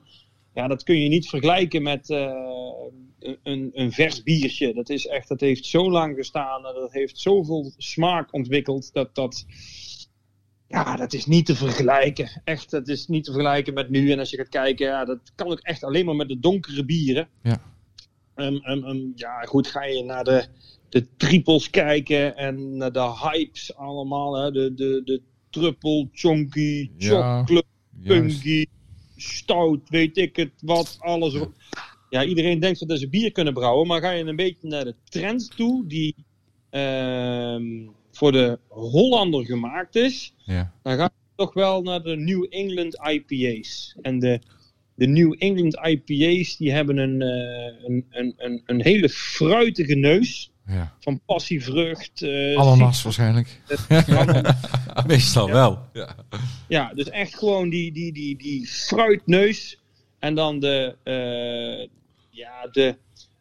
Ja, dat kun je niet vergelijken met eh, een, een vers biertje. Dat is echt, dat heeft zo lang gestaan en dat heeft zoveel smaak ontwikkeld dat dat. Ja, dat is niet te vergelijken. Echt, dat is niet te vergelijken met nu. En als je gaat kijken, ja, dat kan ook echt alleen maar met de donkere bieren.
Ja.
Ehm, ehm, ehm, ja, goed, ga je naar de, de triples kijken en naar de hypes allemaal. Hè? De, de, de triple, chonky,
Ja.
chocolate
Juist.
punky, stout, weet ik het wat, alles. erop. Ja, iedereen denkt dat ze bier kunnen brouwen, maar ga je een beetje naar de trends toe die ehm, voor de Hollander gemaakt is,
Ja.
dan ga je toch wel naar de New England IPA's. En de, de New England IPA's die hebben een, eh, een, een, een, een hele fruitige neus
ja.
van passievrucht. eh,
Ananas waarschijnlijk.
Meestal wel.
Ja, dus echt gewoon die, die, die, die fruitneus. En dan de, eh, ja, de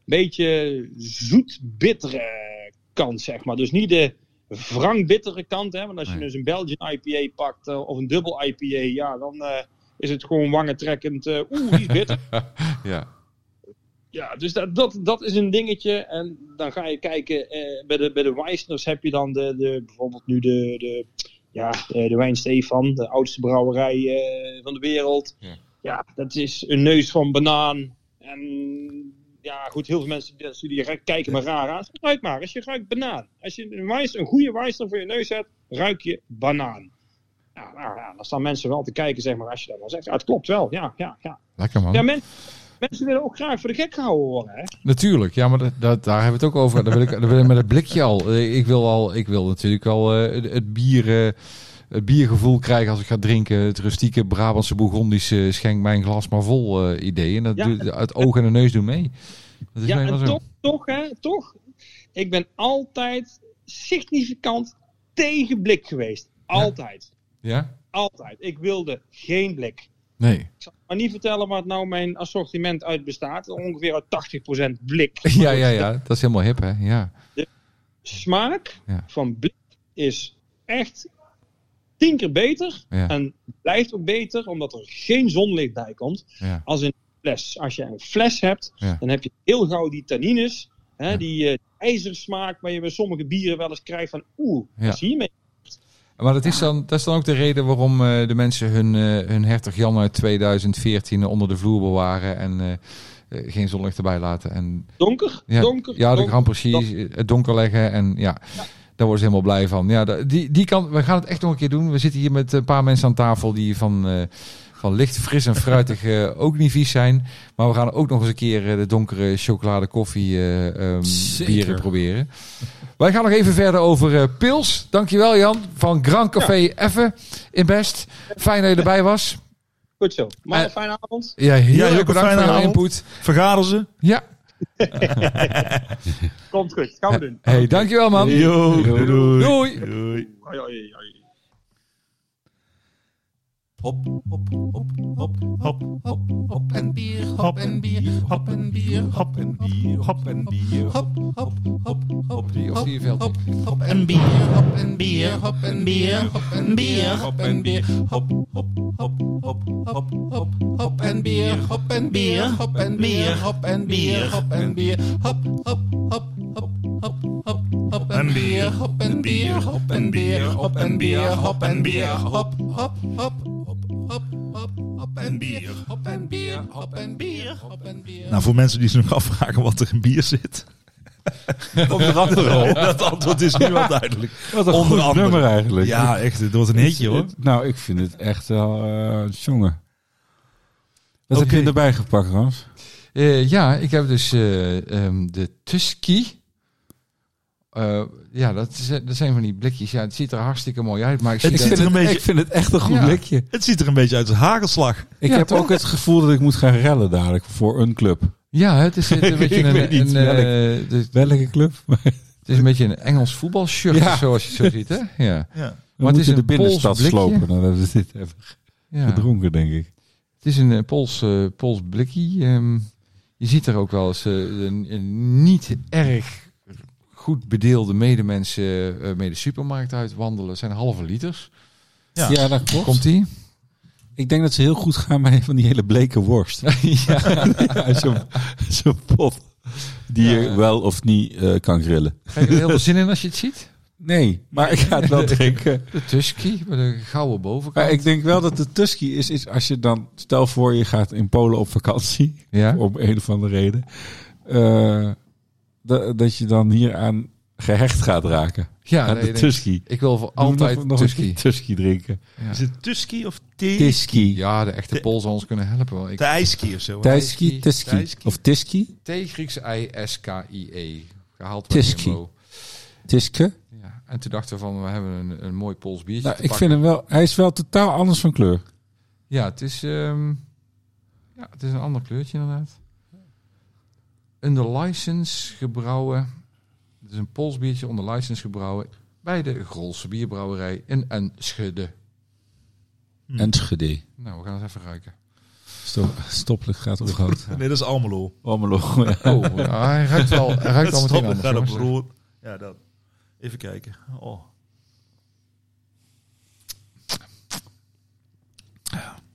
beetje zoet-bittere kant, zeg maar. Dus niet de wrang-bittere kant, hè. Want als je
Nee.
dus een Belgian IPA pakt, eh, of een dubbel IPA, ja, dan eh, is het gewoon wangentrekkend. eh, Oeh, die is bitter.
Ja.
ja, dus dat, dat, dat is een dingetje. En dan ga je kijken, eh, bij de, bij de Weissners heb je dan de, de, bijvoorbeeld nu de, de, ja, eh, de Wijn Stefan, de oudste brouwerij eh, van de wereld.
Ja.
Ja. dat is een neus van banaan en ja, goed, heel veel mensen die dat studeren kijken me raar aan. Ruik maar, als je ruikt banaan. Als je een, wijs, een goede wijster voor je neus hebt, ruik je banaan. Ja, nou, ja, dan staan mensen wel te kijken, zeg maar, als je dat wel zegt. Ja, het klopt wel, ja, ja, ja.
Lekker man.
Ja, men- mensen willen ook graag voor de gek gehouden worden, hè.
Natuurlijk, ja, maar dat, dat- daar hebben we het ook over. Daar wil ik, daar wil ik met het blikje al. Eh, Ik wil, al, ik wil natuurlijk al eh, het- het, bier, eh, het biergevoel krijgen als ik ga drinken. Het rustieke Brabantse Bourgondische schenk mijn glas maar vol eh, idee. En dat
Ja,
doet, het oog en de neus doen mee. Dat is
Ja,
nou eenmaal
en
zo.
toch, toch, hè, toch. Ik ben altijd significant tegen blik geweest. Altijd.
Ja?
Altijd. Ik wilde geen blik.
Nee.
Ik zal maar niet vertellen wat nou mijn assortiment uit bestaat. Ongeveer uit 80% blik.
Ja, ja, ja. Dat is helemaal hip, hè? Ja.
Smaak
Ja.
van blik is echt tien keer beter.
Ja.
En blijft ook beter, omdat er geen zonlicht bij komt.
Ja.
als in een fles. Als je een fles hebt,
Ja.
dan heb je heel gauw die tannines, hè,
Ja.
die eh, ijzersmaak, waar je bij sommige bieren wel eens krijgt van oeh,
Ja.
wat zie je mee?
Maar dat is, dan, dat is dan ook de reden waarom eh, de mensen hun, eh, hun hertog Jan uit 2014 onder de vloer bewaren en eh, eh, geen zonlicht erbij laten. En
Donker,
Ja,
donker,
ja de
donker.
Grand Prix, het donker leggen en ja, daar worden ze helemaal blij van. Ja, da- die, die kan, we gaan het echt nog een keer doen. We zitten hier met een paar mensen aan tafel die van, eh, van licht, fris en fruitig eh, ook niet vies zijn. Maar we gaan ook nog eens een keer eh, de donkere chocolade koffie eh, ehm,
Zeker.
bieren proberen. Wij gaan nog even verder over eh, Pils. Dankjewel Jan van Grand Café Effen in Best. Fijn dat je erbij was.
Goed zo. Maar
Eh,
fijne avond.
Ja, heel
Ja,
erg
Jokke,
bedankt
fijne
voor je
avond.
input.
Vergaderen ze?
Ja,
Komt goed. Gaan
eh,
we doen.
hey, dankjewel man.
Yo, doei, doei.
Doei.
Doei.
Hoi, hoi, hoi.
Hop, hop, hop, hop, hop, hop, hop en bier, hop en bier, hop en bier, hop en bier, hop en bier, hop, hop, hop, hop,
Die of die veld.
hop, hop en bier, hop en bier, hop en bier, hop en bier, hop en bier, hop, hop, hop, hop, hop, hop, hop en bier, hop en bier, hop en bier, hop en bier, hop en bier, hop, hop, hop, hop, hop, hop, hop en bier, hop en bier, hop en bier, hop en bier, hop en bier, hop, hop, hop, hop, hop, hop, hop en bier, hop en bier, hop en bier, hop en bier.
Nou, voor mensen die zich nog afvragen wat er in bier zit. Onder andere al. Dat antwoord is nu wel duidelijk.
Wat een
Onder
goed
andere.
nummer eigenlijk.
Ja, echt. Het wordt een hitje hoor.
Nou, ik vind het echt wel... eh jongen. Wat
Oké.
heb je erbij gepakt, Rans?
Eh, ja, ik heb dus eh, ehm, de Tusky. Eh, ja, dat, is, dat zijn van die blikjes. Ja, het ziet er hartstikke mooi uit. Maar ik zie
Het
dat...
ziet er een beetje,
vind het echt een
Ja.
blikje.
het ziet er een beetje uit als hagelslag.
Ik
Ja,
heb
toch?
ook het gevoel dat ik moet gaan rellen dadelijk voor een club.
Ja, het is het is een beetje
Ik
een,
weet niet
een,
welk.
eh, het is-
Welke club?
het is een beetje een Engels voetbalshirt,
Ja.
zoals je het zo ziet, hè? Ja.
Ja.
We
Wat is
moeten
een
de binnenstad
Pools blikje?
slopen nadat we dit hebben
ja.
gedronken, denk ik.
Het is een eh, Pools, eh, Pools blikkie. Ehm, je ziet er ook wel eens eh, een, een niet erg goed bedeelde medemensen eh, mee de supermarkt uit wandelen. Het zijn halve liters.
Ja.
dat klopt.
Komt-ie?
Ik denk dat ze heel goed gaan bij van die hele bleke worst. ja, zo'n zo pot. Die je wel of niet eh, kan grillen.
Krijg je er heel veel zin in als je het ziet?
Nee, maar ik ga het wel drinken.
De Tusky met een gouden bovenkant.
Maar ik denk wel dat de Tusky is, is als je dan... Stel voor je gaat in Polen op vakantie.
Ja.
Om een of andere reden. eh, da- dat je dan hieraan gehecht gaat raken.
Ja,
aan
nee,
de
ik denk-
Tusky.
ik wil voor
Doe
altijd
nog, nog een
Tusky.
keer Tusky drinken.
Is het Tusky of T?
Tisky.
Ja, de echte Pols zou ons kunnen helpen. wel. Ik,
De ijski of zo.
Tisky, Tisky.
Tisky.
Of Tisky.
T Grieks I S K I E. Gehaald bij
Tusky.
Jumbo.
Tiske.
Ja. En toen dachten we van, we hebben een, een mooi Pools biertje
Nou,
te
ik
pakken.
vind hem wel... Hij is wel totaal anders van kleur.
Ja, het is, ehm, ja, het is een ander kleurtje inderdaad. Under license gebrouwen. Het is een Pools biertje onder license gebrouwen. Bij de Grolse bierbrouwerij in Enschede.
Hmm. Enschede.
Nou, we gaan eens even ruiken.
Stop, stoppelijk gaat op goud.
Nee, dat is Almelo.
Almelo. ja.
Oh, ja, hij ruikt wel, hij ruikt
dat
al meteen
stoppen
anders.
gaat op
jongens.
rood. Ja, dat. Even kijken. Oh.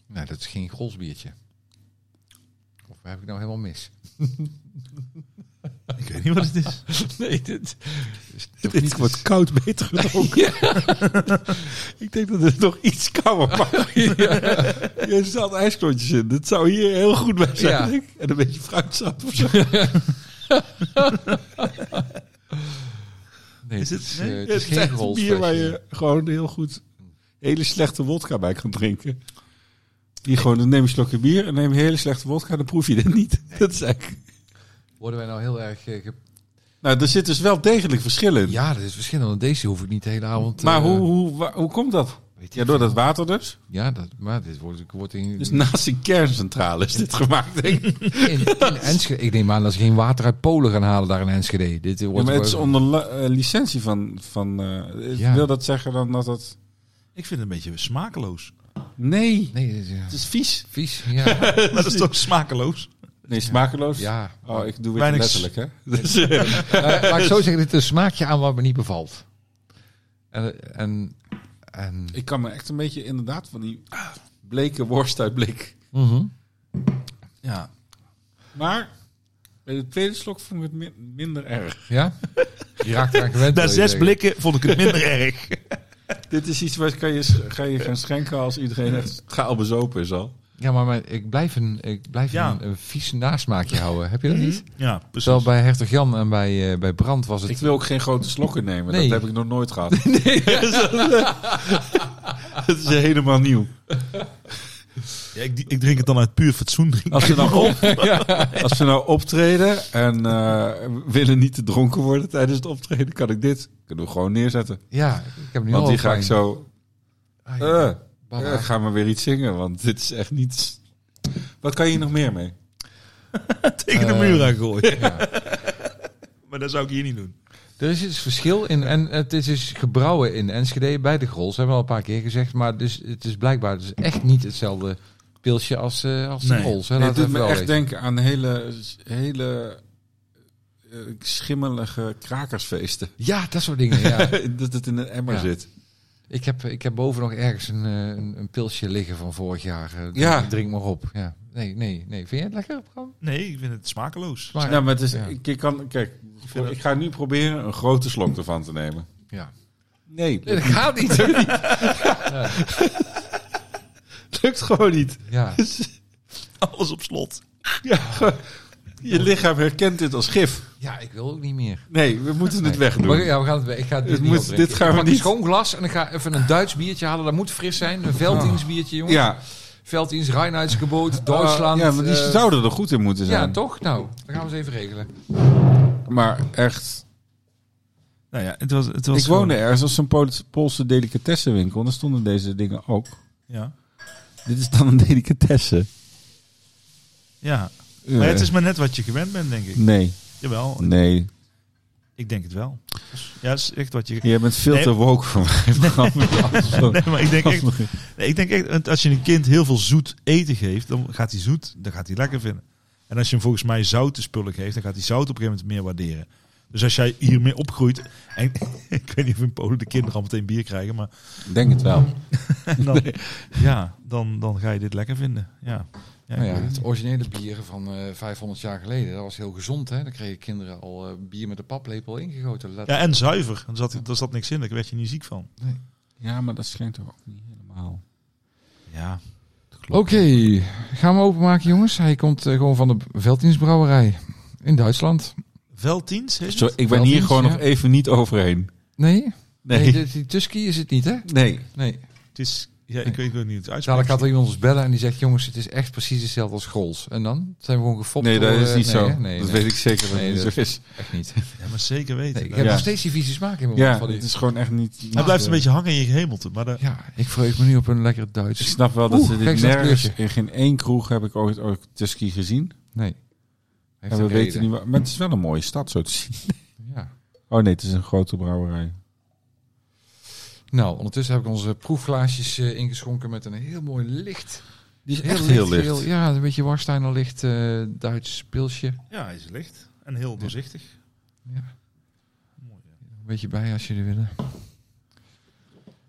Nee, dat is geen Grols biertje. Of heb ik nou helemaal mis?
Ik weet niet wat het is.
Nee, dit...
Dit wordt koud beter gedronken. Ik denk dat het nog iets kouder mag. Je staat ijsklontjes in. Dit zou hier heel goed bij zijn.
Ja.
denk ik. En een beetje fruitsap of zo.
Nee,
Is het,
is, eh,
nee?
het
Ja,
is
het is
geen
echt
Rolls
bier waar
flesje.
je gewoon heel goed hele slechte wodka bij kan drinken. Die gewoon, dan neem je een slokje bier en neem je hele slechte wodka, dan proef je dit niet. Dat is eigenlijk...
Worden wij nou heel erg... eh, ge-
Nou, er zit dus wel degelijk verschil in.
Ja, dat is verschillend. Deze hoef ik niet de hele avond...
maar
eh,
hoe, hoe, wa- hoe komt dat?
weet
Ja,
ik
door
veel.
dat water dus.
Ja, dat, maar dit wordt, wordt in,
Dus naast een kerncentrale is dit gemaakt, denk ik.
in, in Enschede... Ik neem aan dat ze geen water uit Polen gaan halen daar in Enschede. Dit wordt
Ja, maar het is
gewoon-
onder la- eh, licentie van... van eh,
Ja.
Wil dat zeggen dan dat dat...
Ik vind het een beetje smakeloos.
Nee,
Nee, dit is, eh,
het is vies.
vies. Ja,
dat is toch smakeloos?
Nee, smakeloos.
ja.
Oh, ik doe weer
Weinig-
letterlijk, hè? Dus,
Nou, laat ik zo zeggen, dit is een smaakje aan wat me niet bevalt. En, en, en
Ik kan me echt een beetje inderdaad van die bleke worst uit blik.
Mhm.
Ja. Maar bij de tweede slok vond ik het min- minder erg.
ja, je raakt eraan gewend.
Na
wil je
zes
zeggen.
blikken vond ik het minder erg.
Dit is iets wat kan je, sch- ga je gaan schenken als iedereen echt gaal bezopen is al.
Ja, maar mijn- ik blijf een, ik blijf
Ja.
een, een vies nasmaakje houden. Heb je dat niet?
Ja, precies.
Zowel bij Hertog Jan en bij, eh, bij Brand was het...
Ik wil ook geen grote slokken nemen.
Nee.
Dat heb ik nog nooit gehad. Het is helemaal nieuw.
Ja, ik, ik drink het dan uit puur fatsoen. drinken.
Als ze nou, op, als ze nou optreden en eh, willen niet te dronken worden tijdens het optreden, kan ik dit kunnen we gewoon neerzetten.
Ja, ik heb nu
Want
al
die ga
pijn.
ik zo...
Ah, ja.
eh,
Baba.
Ja, ik ga maar weer iets zingen, want dit is echt niet... Wat kan je hier nog meer mee? Eh.
tegen de muur aan gooien. maar dat zou ik hier niet doen.
Er is dus verschil in, en het is dus gebrouwen in Enschede bij de Grols, hebben we al een paar keer gezegd. Maar dus, het is blijkbaar dus echt niet hetzelfde pilsje als, eh, als de
Nee.
Grols. Hè?
Het
Laten we
doet
even
me
wel
echt
weten.
denken aan hele, hele eh, schimmelige krakersfeesten.
Ja, dat soort dingen, ja.
dat het in een emmer
Ja.
zit.
Ik heb, ik heb boven nog ergens een, eh, een, een pilsje liggen van vorig jaar. Eh,
Ja.
drink- Drink maar op. Ja. Nee, nee, nee. Vind jij het lekker, Bram?
Nee, ik vind het smakeloos.
Smaak-
nou, maar het is,
ja.
ik, ik kan, kijk,
vind
ik ga nu proberen een grote slok ervan te nemen.
Ja.
Nee,
Nee,
dat
dat gaat niet. hoor.
lukt gewoon niet.
ja.
Alles op slot.
Je lichaam herkent dit als gif.
ja, ik wil ook niet meer.
Nee, we moeten het
Nee.
wegdoen.
Maar, eh, ja, we gaan het weg. Ik ga het
Het
niet
moet-
opdrinken.
dit gaan
Ik
we
pak een
niet-
schoon glas en dan ga ik even een Duits biertje halen. Dat moet fris zijn. Een Veltins biertje, jongens.
Oh. ja, Oh,
Veltins, Reinheitsgebot, Duitsland.
Ja, maar die
eh,
zouden er goed in moeten zijn.
Ja, toch? Nou, dan gaan we eens even regelen.
Maar echt,
Nou ja, het was, het was
ik woonde
gewoon-
ergens als zo'n Poolse- Poolse delicatessenwinkel. En daar stonden deze dingen ook.
Ja.
Dit is dan een delicatesse.
ja. Maar het is maar net wat je gewend bent, denk ik.
Nee,
Jawel,
nee.
ik denk het wel. Ja, het is echt wat je...
Jij bent veel
Nee.
te woke voor mij. Bram. Zo.
Nee, maar ik denk echt...
Alsnog.
Nee, ik denk echt, want als je een kind heel veel zoet eten geeft, dan gaat hij zoet, dan gaat hij lekker vinden. En als je hem volgens mij zoute spullen geeft, dan gaat hij zout op een gegeven moment meer waarderen. Dus als jij hiermee opgroeit, en ik weet niet of in Polen de kinderen al meteen bier krijgen, maar
Ik Denk het wel.
dan, ja, dan, dan ga je dit lekker vinden. Ja, ja, ik
Nou ja,
weet het.
het originele bier van eh 500 jaar geleden, dat was heel gezond. Hè? Dan kregen kinderen al eh, bier met een paplepel ingegoten. Let-
ja en zuiver. Er zat, er zat niks in, daar werd je niet ziek van.
Ja, maar dat schijnt toch ook niet helemaal.
Ja,
Oké, gaan we openmaken, jongens. Hij komt eh, gewoon van de Veltinsbrouwerij in Duitsland.
Veltiens heet
Zo,
het?
ik ben
Wel
hier
iets,
gewoon
ja.
nog even niet overheen.
Nee?
Nee.
Nee,
Nee.
dit- die Tusky is het niet, hè? Nee.
Het is, ja, ik weet ook niet het
Dadelijk
uitspraak.
gaat er iemand ons bellen en die zegt, jongens, het is echt precies hetzelfde als Grols. En dan zijn we gewoon gefopt.
Nee,
door,
dat is
eh,
niet
nee,
zo.
hè? Nee,
dat
nee,
weet ik zeker dat
Nee,
het niet
dat-
zo is.
echt niet.
Ja, maar zeker weten.
Nee, ik
Ja.
heb
Ja.
nog steeds die vieze smaak in mijn mond.
Ja,
van die-
het is gewoon echt niet... eh,
Hij blijft een beetje hangen in je gehemelte, maar eh, daar-
ja, ik verheug me nu op een lekker
Ik
Duits.
snap wel dat
Oeh,
ze
kijk,
dit
zo'n
nergens...
kleurtje.
In geen één kroeg heb ik ooit, ooit Tusky gezien.
Nee. Heeft
En we
een
weten
reden.
niet waar... Maar het is wel een mooie stad zo te zien.
Ja.
Oh nee, het is een grote brouwerij.
Nou, ondertussen heb ik onze proefglaasjes eh, ingeschonken met een heel mooi licht.
Die is echt heel licht.
geel. ja, een beetje Warsteiner licht eh, Duits pilsje.
ja, hij is licht en heel doorzichtig.
Een beetje bij als jullie willen.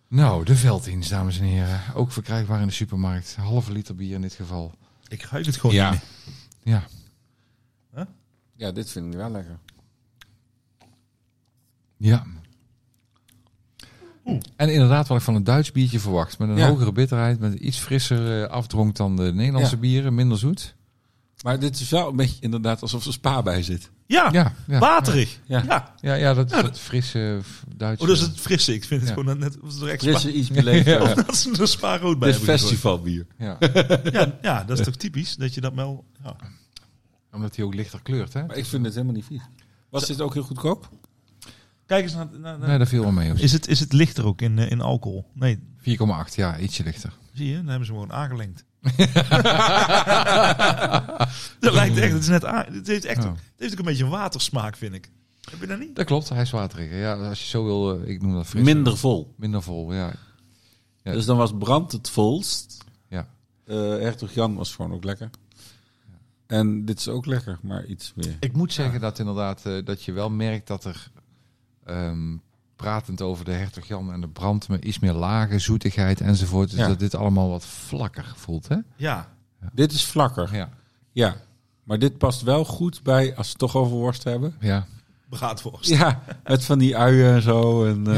Nou, de velddienst, dames en heren. Ook verkrijgbaar in de supermarkt. Halve liter bier in dit geval.
Ik ruik
Oh,
het gewoon
Ja.
niet.
Ja,
Ja, dit vind ik wel lekker.
Ja. En inderdaad wat ik van een Duits biertje verwacht. Met een
Ja.
hogere bitterheid, met een iets frisser eh, afdronk dan de Nederlandse
Ja.
bieren. Minder zoet.
Maar dit is wel een beetje inderdaad alsof er spa bij zit.
Ja,
Ja, ja.
Ah, waterig.
Ja.
Ja.
Ja, ja dat is het frisse f- Duitse.
Oh, dat is het frisse. Ik vind het
Ja.
gewoon net... of er echt
Er is
spa-
er iets beleefd.
Ja.
over.
Dat ze er spa rood bij
Dit
hebben
festivalbier.
ja.
gegooid. Ja, ja, dat is toch typisch dat je dat wel... Ja.
Omdat hij ook lichter kleurt, hè?
Maar ik vind het helemaal niet vies. Was dit ook heel goedkoop?
Kijk eens naar... naar- naar-
Nee, daar viel wel mee. op. 4,8.
Is, het, is het lichter ook in, eh, in alcohol? Nee,
Ja, ietsje lichter.
zie je? Dan hebben ze hem gewoon aangelengd. dat lijkt echt... Het, is net aan, het, heeft echt,
Ja.
het heeft ook een beetje een watersmaak, vind ik. Heb je dat niet?
Dat klopt, hij is wateriger. Ja, als je zo wil, eh, ik noem dat fris.
Minder vol.
Minder vol, ja. Ja.
Dus dan was Brand het volst.
Ja.
Eh Hertog Jan was gewoon ook lekker. En dit is ook lekker, maar iets meer.
Ik moet zeggen dat inderdaad eh, dat je wel merkt dat er ehm, pratend over de hertog Jan en de brand maar iets meer lage zoetigheid enzovoort. Dus
Ja.
dat dit allemaal wat vlakker voelt, hè?
Ja.
Dit is vlakker.
Ja.
Ja, maar dit past wel goed bij, als we het toch over worst hebben.
Ja.
Braadworst.
Ja, met van die uien en zo. En eh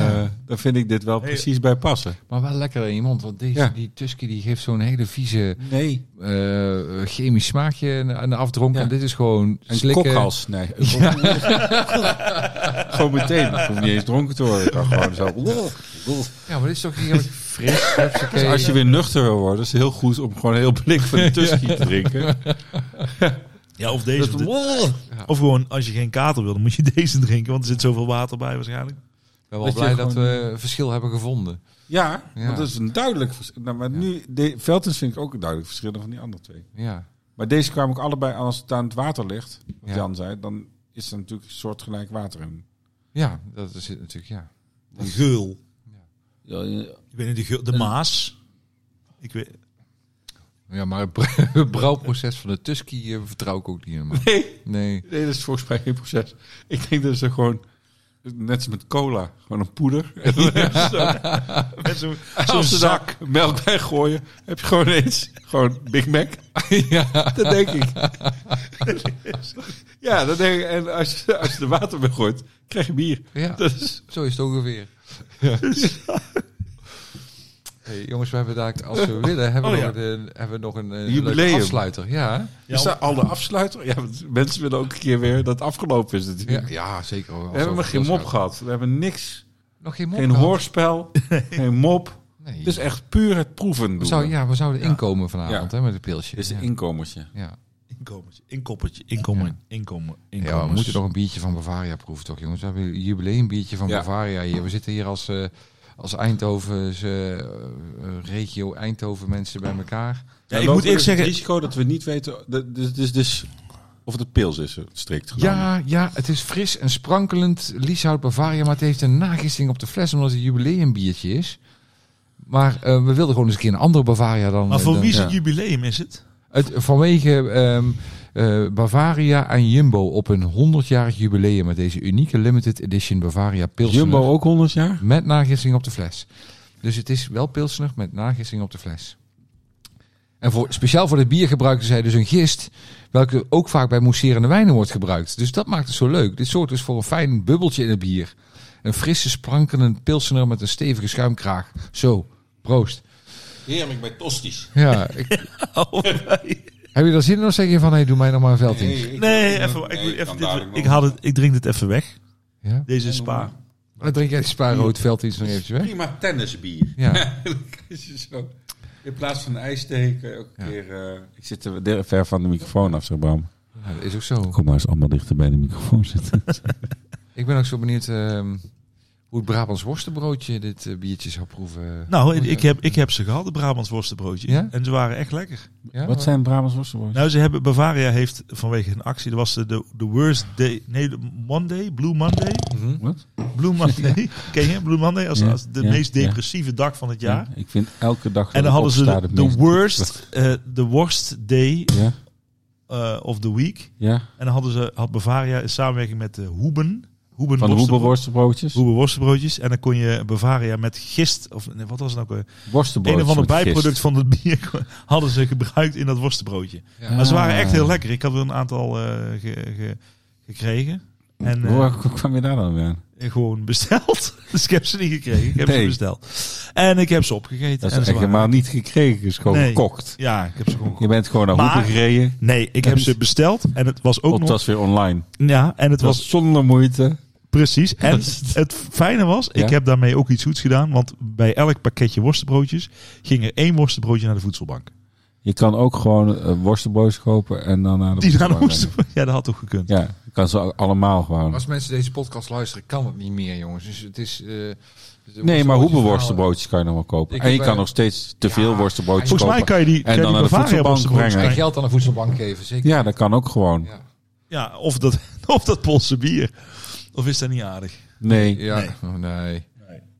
daar vind ik dit wel
Hey.
precies bij passen.
Maar wel lekker in je mond, want deze,
Ja.
die Tusky die geeft zo'n hele vieze
Nee,
eh, chemisch smaakje aan de- aan de afdronk.
Ja.
En dit is gewoon
een
slikken.
kokhals. Nee. gewoon meteen. Ik hoef niet eens dronken te worden. Ik kan gewoon zo.
Ja, maar dit is toch heerlijk fris. hupsakee.
Dus als je weer nuchter wil worden, is het heel goed om gewoon een heel blik van de Tusky te drinken.
Ja, of deze.
Dus-
of dit- Of gewoon, als je geen kater wil, dan moet je deze drinken. Want er zit zoveel water bij
Ik
waarschijnlijk.
ben wel
Dat je
blij dat eh,
gewoon-
we verschil hebben gevonden.
Ja,
Ja.
want dat is een duidelijk verschil. Nou, maar nu, de, Veltins vind ik ook een duidelijk verschil dan van die andere twee.
Ja.
Maar deze kwamen ook allebei, als het aan het water ligt, wat
Ja.
Jan zei, dan is er natuurlijk soortgelijk water in.
ja, dat is het natuurlijk, ja.
De geul.
Ja, ja.
Ik weet niet, de, geul, de maas. Ik weet,
Ja, maar het br- het brouwproces van de Tusky eh, vertrouw ik ook niet helemaal.
Nee.
Nee.
Nee, dat is volgens mij geen proces. Ik denk dat ze gewoon, net als met cola, gewoon een poeder. En dan
met zo'n zo'n
als ze
zak.
daar melk bij gooien, heb je gewoon eens gewoon Big Mac.
ja.
Dat denk ik. ja, dat denk ik. En als je, als je er water bij gooit, krijg je bier.
ja,
Dat is...
zo is het ongeveer. Hey, jongens, we hebben daar, als we willen, hebben we
Oh, ja.
nog een, hebben we nog een, eh,
Jubileum.
leuke afsluiter. Ja,
Is daar al Dus de afsluiter? Ja, want mensen willen ook een keer weer dat het afgelopen is natuurlijk.
ja, ja zeker. hoor. Als
We hebben
over-
maar geen
als-
mop gehad. We hebben niks.
Nog geen mop
Geen
gehad?
hoorspel. Geen mop.
Nee.
Het is echt puur het proeven
we,
doen.
zou, ja, we zouden inkomen vanavond
Ja.
hè, met het pilsje.
Het is
ja.
een inkomertje.
ja.
Inkomertje, inkoppertje, inkomen, inkomen, inkomen.
Ja, we moeten nog een biertje van Bavaria proeven, toch, jongens? We hebben een jubileumbiertje van
Ja.
Bavaria hier. We zitten hier als, eh als Eindhovense eh, eh, regio Eindhoven mensen bij elkaar.
Ja, ik moet eerlijk zeggen,
Het risico dat we niet weten dat- dus, dus, dus, of het pils is, eh, strikt genomen.
Ja, ja, het is fris en sprankelend. Lieshout Bavaria, maar het heeft een nagisting op de fles omdat het een jubileumbiertje is. Maar eh, we wilden gewoon eens een keer een andere Bavaria dan. eh,
maar voor
dan-
wie is het
ja.
jubileum, is het?
Het, vanwege ehm, eh, Bavaria en Jumbo op hun 100-jarig jubileum met deze unieke limited edition Bavaria Pilsner.
Jumbo ook 100 jaar?
Met nagissing op de fles. Dus het is wel pilsner met nagissing op de fles. En voor, speciaal voor dit bier gebruikten zij dus een gist, welke ook vaak bij mousserende wijnen wordt gebruikt. Dus dat maakt het zo leuk. Dit zorgt dus voor een fijn bubbeltje in het bier. Een frisse, sprankelende pilsner met een stevige schuimkraag. Zo, proost.
Heerlijk bij tosties.
Ja, ik, heb je daar zin in of zeg je van, hé, doe mij nog maar een velding?
Nee, even, ik, moet even dit, ik, haal het, ik drink dit even weg.
Ja?
Deze spa.
Dan drink jij die spaarrood veld iets nog eventjes weg.
Prima tennisbier.
Ja,
Is het zo? In plaats van ijsthee kun je ook een
Ja.
keer... eh, ik zit er weer ver van de microfoon af, zeg Bram.
Ja, dat is ook zo.
Kom maar eens allemaal dichter bij de microfoon zitten.
Ik ben ook zo benieuwd ehm, hoe het Brabants worstenbroodje dit eh, biertje zou proeven.
Nou,
Hoe-
ik heb, ik heb ze gehad, de Brabants worstenbroodje.
Ja?
En ze waren echt lekker.
Ja,
Wat zijn Brabants worstenbroodjes?
Nou, ze hebben Bavaria heeft vanwege een actie. Dat was de, de, de worst day. Nee, de Monday, Blue Monday.
Mhm.
Wat?
Blue Monday. Ken je Blue Monday als,
Ja,
als de
ja,
meest
ja.
depressieve dag van het jaar?
ik vind elke dag...
En dan hadden ze de, de
worst.
worst, eh, de worst day
Ja,
eh, of the week.
ja.
En dan hadden ze had Bavaria in samenwerking met de Hoeben. Hoeben
Van de
worstenbro-
Hoebe worstenbroodjes.
Hoeben worstenbroodjes. En dan kon je Bavaria met gist, of nee, wat was het nou ook? weer? Een
Worstenbroodjes
of ander
met gist.
bijproduct van het bier hadden ze gebruikt in dat worstenbroodje.
Ja.
Maar ze waren
Ah.
echt heel lekker. Ik had er een aantal eh, ge- ge- gekregen. En eh,
Hoe hoe kwam je daar dan weer aan?
gewoon besteld. dus ik heb ze niet gekregen. Ik heb ze
Nee.
besteld. En ik heb ze opgegeten.
Dat is
en ze
echt
waren-
helemaal niet gekregen, is gewoon
Nee.
gekocht.
Ja, ik heb ze gewoon
Je bent gewoon naar
Maar-
hoeven gereden.
Nee, ik heb ze besteld en het was ook
Op
nog...
was weer online.
Ja, en het
Het was
was
zonder moeite.
precies. En het fijne was,
Ja?
ik heb daarmee ook iets goeds gedaan. Want bij elk pakketje worstenbroodjes ging er één worstenbroodje naar de voedselbank.
Je kan ook gewoon eh, worstenbroodjes kopen en dan naar de
Die naar de
voedselbank
worstenbroodjes... Ja, dat had toch gekund.
brengen. Ja, je kan ze allemaal gewoon.
Als mensen deze podcast luisteren, kan het niet meer, jongens. Dus het is. eh, de
Nee, maar hoeveel
verhalen-
worstenbroodjes kan je nog wel kopen?
Ik
en je
heb,
kan
eh,
nog steeds te veel
ja,
worstenbroodjes
Volgens mij
kopen.
kan je die, kan je
dan
die
naar de
Bavaria
voedselbank
worstenbroodjes
brengen.
En
krijgen.
geld aan de voedselbank geven, zeker.
Ja, dat kan ook gewoon.
Ja.
Ja, of dat, of dat Poolse bier. Of is dat niet aardig?
Nee.
Ja, oh, nee.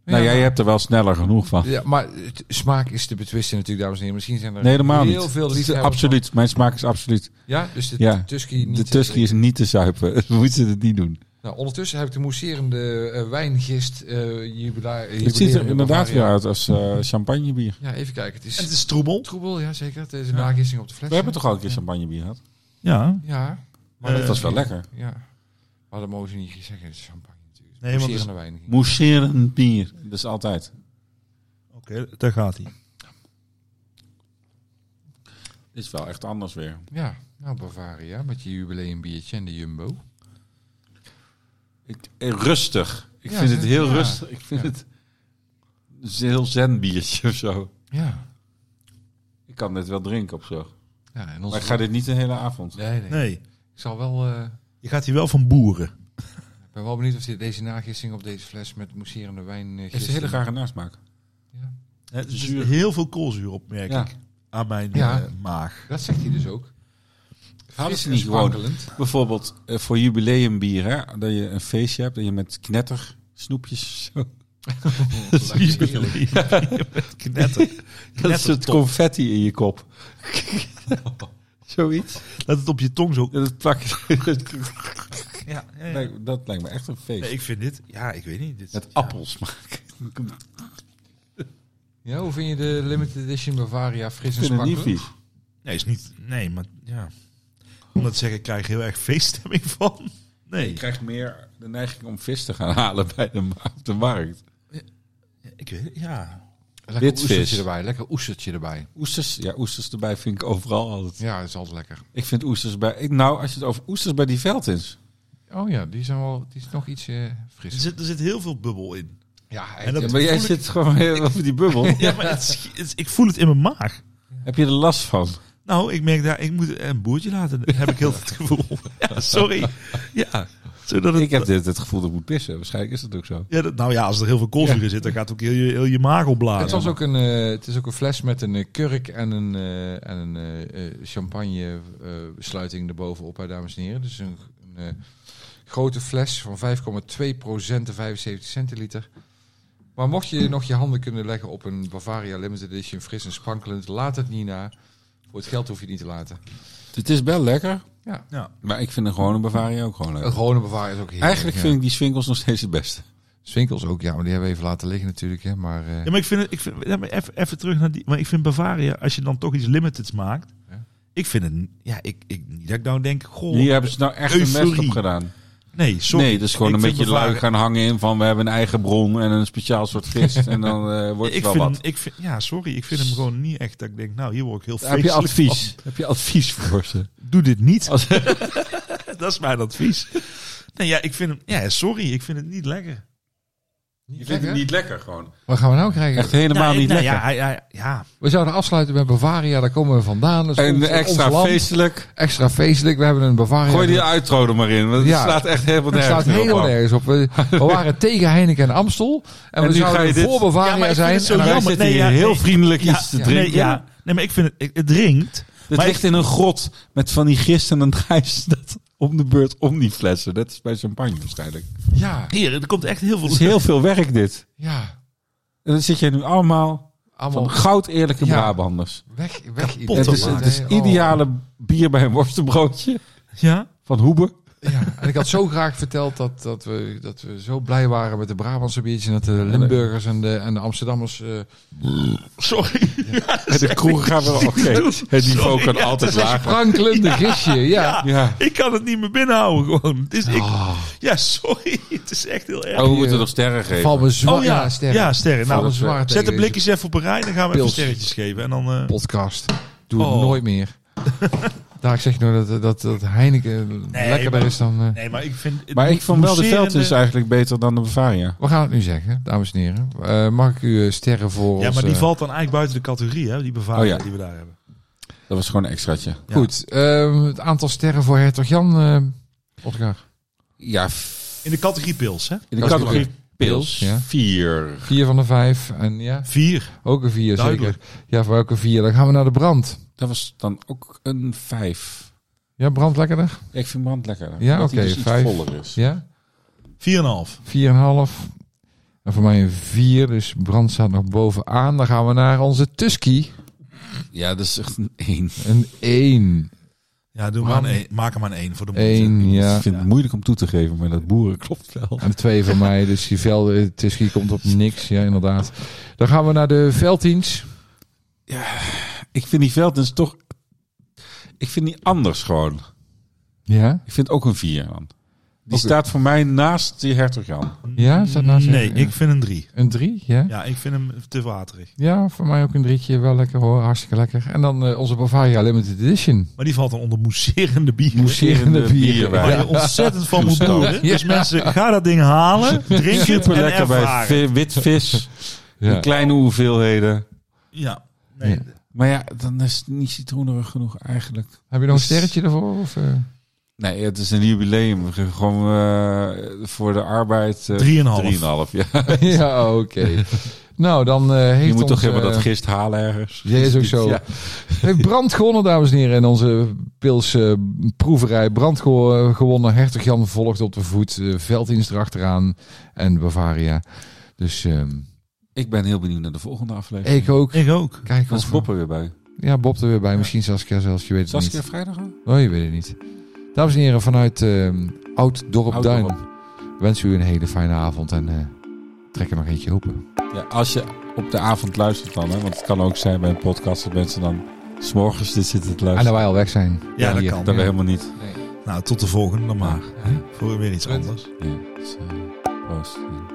Nou, jij hebt er wel sneller genoeg van.
Ja, maar het- smaak is te betwisten natuurlijk, dames en heren. Misschien zijn er
Nee, helemaal
heel
niet.
veel
Het is
liefhebbers van-
Absoluut. Mijn smaak is absoluut.
Ja, dus de
Ja.
Tusky niet.
De
te
Tusky is
drinken.
niet te zuipen. We moeten het niet doen.
Nou, ondertussen heb ik de mousserende eh, wijngist eh jubilaar.
Het ziet er inderdaad weer uit als eh, champagnebier.
Ja, even kijken. Het is
En het is troebel.
troebel, ja zeker. Het is een nagisting op de fles.
We hebben toch al een keer champagnebier gehad?
Ja.
Ja,
Eh,
Dat was wel lekker.
ja. Maar dat mogen ze niet zeggen. Het is champagne natuurlijk.
Nee, want het is-
mousserende wijn.
Mousserend bier. Dat is altijd.
Oké, daar gaat hij.
Is wel echt anders weer.
Ja, nou Bavaria met je jubileumbiertje en de Jumbo.
Ik, eh, rustig. Ik
Ja,
vind het heel
ja.
rustig. Ik vind
Ja.
het het is een heel zen biertje of zo.
Ja.
Ik kan dit wel drinken op zo.
ja en
Maar
onze...
ik ga dit niet de hele avond.
nee, nee,
Nee,
Ik zal wel... eh,
je gaat hier wel van boeren.
Ik ben wel benieuwd of dit- deze nagisting op deze fles met mousserende wijn... eh,
Heeft
gist-
een hele rare nasmaak.
Hè, Er zit
Zuur.
heel veel koolzuur op, merk
Ja.
ik. Aan mijn
Ja.
eh, maag.
Dat zegt hij dus ook.
Hadden
Fris
ze
en
niet gewoon
sprankelend.
Bijvoorbeeld eh, voor jubileumbier, hè, dat je een feestje hebt en je met knetter snoepjes. Zo. Dat
Knetter.
soort
Knettertop.
confetti in je kop. Zoiets.
Laat het op je tong zo.
En Dat plak je.
Ja, ja, ja.
Lijkt- Dat lijkt me echt een feest.
Nee, ik vind dit. Ja, ik weet niet. Dit,
Met appelsmaak.
Ja, hoe vind je de limited edition Bavaria fris
Ik
en
vind het niet
sprankelend?
vies.
Nee, is niet. Nee, maar ja. Omdat te zeggen, ik krijg heel erg feeststemming van. Nee,
Je krijgt meer de neiging om vis te gaan halen bij de, ma- op de markt.
ik weet het. Ja.
Lekker
Witvis.
oestertje erbij. Lekker oestertje erbij.
Oesters, ja, oesters erbij vind ik overal altijd.
Ja, dat is altijd lekker.
Ik vind oesters bij. Ik, nou, als je het over oesters bij die veld is.
Oh ja, die zijn wel... Die is nog iets eh
Er
fris.
zit, er zit heel veel bubbel in.
Ja,
En dat-
eh,
maar jij
voel ik-
zit gewoon weer over die bubbel.
Ja, maar het, sch- het- ik voel het in mijn maag.
Heb je er last van?
Nou, ik merk daar, ik moet een boertje laten. Heb ik heel het gevoel. Ja, sorry. Ja. Zodat het,
Ik heb dit, het gevoel dat ik moet pissen. Waarschijnlijk is dat ook zo.
ja, dat, nou ja, als er heel veel koolzuur in zit, dan gaat ook heel je, heel je maag opblazen.
het, was ook een, eh, het is ook een fles met een eh, kurk en een, eh, en een eh, eh, champagne eh, sluiting erbovenop, hè, dames en heren. Dus een, een, eh, grote fles van 5,2 procent en 75 centiliter. Maar mocht je nog je handen kunnen leggen op een Bavaria Limited Edition fris en sprankelend, laat het niet na. Voor het geld hoef je het niet te laten.
Het is wel lekker.
Ja.
Maar ik vind een gewone Bavaria ook gewoon
Een
leuk.
gewone Bavaria is ook heerlijk.
Eigenlijk
ja.
vind ik die swinkels nog steeds het beste.
Swinkels ook, ja, maar die hebben we even laten liggen natuurlijk. Hè, maar, eh,
Ja, maar ik vind het. Ik vind, ja, maar even, even terug naar die. Maar ik vind Bavaria, als je dan toch iets limiteds maakt.
Ja.
Ik vind het. Ja, ik, ik, niet dat ik nou denk. Goh.
Hier hebben ze nou echt een mest
euforie.
op gedaan.
Nee, sorry.
Nee, dat is gewoon
Ik
een
vind
beetje lui
Bavaria-
gaan hangen in van we hebben een eigen bron en een speciaal soort vis. en dan eh, wordt het
Ik
wel
vind,
wat.
hem- ik vind, ja, sorry. Ik vind hem gewoon niet echt dat ik denk, nou, hier word ik heel
Heb je
feestelijk
advies? Heb je advies voor ze?
van. Doe dit niet.
Als-
dat is mijn advies. Nee, ja, ik vind hem... Ja, sorry. Ik vind het niet lekker.
Je vindt het niet lekker gewoon.
Wat gaan we nou krijgen?
Echt helemaal
Nou,
niet
nou,
lekker.
Ja, hij- hij- ja.
We zouden afsluiten met Bavaria, daar komen we vandaan. Dat is
en
ons-
extra
ons land.
feestelijk.
Extra feestelijk. We hebben een Bavaria.
Gooi die outro er maar in, want het
Ja.
slaat echt helemaal
het
nergens
staat helemaal
op.
nergens op. We, we waren tegen Heineken en Amstel. En,
En
we
nu ga je
zouden
dit-
voor
Ja,
Bavaria
maar ik vind
zijn.
het zo
en dan-
Wij
Jammer,
zitten
nee,
hier
ja,
heel
nee.
vriendelijk
Ja,
iets te
ja.
drinken.
Nee, ja. nee, maar ik vind het... Het drinkt.
Het
Maar
ligt in een grot met van die gisten en grijs dat om de beurt om die flessen. Dat is bij champagne waarschijnlijk.
ja,
Hier, er komt echt heel veel...
Het is heel veel werk dit.
ja.
En dan zit je nu allemaal
Allemaal
van goud eerlijke
Ja.
Brabanders.
weg. weg
Kapot
Het
te
is het is
Nee, oh.
ideale bier bij een worstenbroodje
Ja?
van Hoebe.
Ja, en ik had zo graag verteld dat, dat, we, dat we zo blij waren met de Brabantse biertjes. En dat de Limburgers en de, en de Amsterdammers... eh,
Sorry.
De kroegen gaan we... Oké, het niveau kan altijd lager.
Franklin de Gisje, ja.
Ja.
Ik kan het niet meer binnenhouden gewoon. Het is, ik,
Ah.
ja, sorry. Het is echt heel erg.
Oh, we moeten nog sterren geven.
Val me zwaar,
Oh ja, ja,
sterk.
sterren. Nou,
Vallen zwaar tegen
zet de
deze
blikjes even op een rij. Dan gaan we even
Pils.
sterretjes geven. En dan... eh,
podcast. Doe het
Oh.
nooit meer. Daar ik zeg nou dat, dat, dat Heineken lekkerder
maar-
is dan... eh,
nee, maar ik vind...
Maar ik vond wel de veld is
mousserende-
eigenlijk beter dan de Bavaria.
We gaan het nu zeggen, dames en heren. Eh, mag ik u eh, sterren voor
Ja,
ons,
maar die
eh,
valt dan eigenlijk buiten de categorie, hè? Die bevaring
Oh ja.
die we daar hebben.
Dat was gewoon een extraatje.
Ja.
Goed, ehm, het aantal sterren voor Hertog Jan, eh Oscar.
Ja,
In de categorie pils, hè?
in de
Dat is
categorie pils.
Ja.
Vier.
Vier van de vijf. En ja,
Vier.
ook een vier
Duidelijk.
zeker. Ja, voor elke vier. Dan gaan we naar de brand.
Dat was dan ook een vijf.
Ja, brand lekkerder?
Ja, ik vind brand lekkerder.
Ja,
Omdat die
oké,
dus iets
vijf.
voller is.
Ja,
Vier en een half.
vier en een half. En voor mij een vier, dus brand staat nog bovenaan. Dan gaan we naar onze Tusky.
Ja, dat is echt een één.
Een één.
Ja, doe maar een, één. maak hem maar een één voor de moeite.
Eén, ja.
Ik vind het moeilijk om toe te geven, maar dat boeren klopt wel.
En de twee van mij, dus die velden, Tusky komt op niks. Ja, inderdaad. Dan gaan we naar de veldteams.
Ik vind die Veldens toch... Ik vind die anders gewoon.
Ja,
Ik vind ook een vier dan. Die
Oké.
staat voor mij naast die hertog Jan.
ja, staat naast
Nee,
Hertog Jan?
ik vind een drie.
Een drie, ja? ja?
Ja, ik vind hem te waterig.
voor mij ook een drietje. Wel lekker hoor, hartstikke lekker. En dan eh, onze Bavaria Limited Edition.
Maar die valt dan onder mousserende bier.
Mousserende
Mousserende
bieren.
bieren.
Waar
Ja.
je ontzettend van moet
Mousserende.
houden. Dus
Ja.
mensen, ga dat ding halen. Drink het
Super
en
lekker bij
ervaar het.
vi- wit vis.
Ja.
In kleine hoeveelheden.
Ja. Nee.
Maar ja, dan is het niet citroenerig genoeg eigenlijk.
Heb je nog een
Dus-
sterretje ervoor? Of, eh?
Nee, het is een jubileum. We gaan Gewoon eh, voor de arbeid. eh,
Drieënhalf.
3,5. Ja.
ja, oké. nou, dan eh heeft
Je moet
ons,
toch hebben
eh,
dat gist halen ergens. Dus
Ja, is ook zo.
Ja.
Heeft Brand gewonnen, dames en heren. En onze Pilse proeverij Brand gewo- eh, gewonnen. Hertog Jan volgt op de voet. eh, Velddienst erachteraan. En Bavaria. Dus ehm,
Ik ben heel benieuwd naar de volgende aflevering.
ik ook.
Ik ook.
Kijk
Dan is
ons
Bob er weer bij.
Ja, Bob er weer bij. Misschien Saskia zelfs. Je weet het
Saskia
niet.
vrijdag al?
Oh, je weet het niet. Dames en heren, vanuit ehm Oud Dorp
Oud
Duin
Dorp.
wensen we u een hele fijne avond. En eh, trek er nog eentje open.
Ja, als je op de avond luistert dan. Hè, want het kan ook zijn bij een podcast dat mensen dan... S'morgens dit zitten te
En dat
luisteren.
wij al weg zijn.
Ja, dat
hier.
kan.
Dat we helemaal niet.
Nou, tot de volgende dan maar. Voor weer iets anders.
Ja, dus, eh, proost.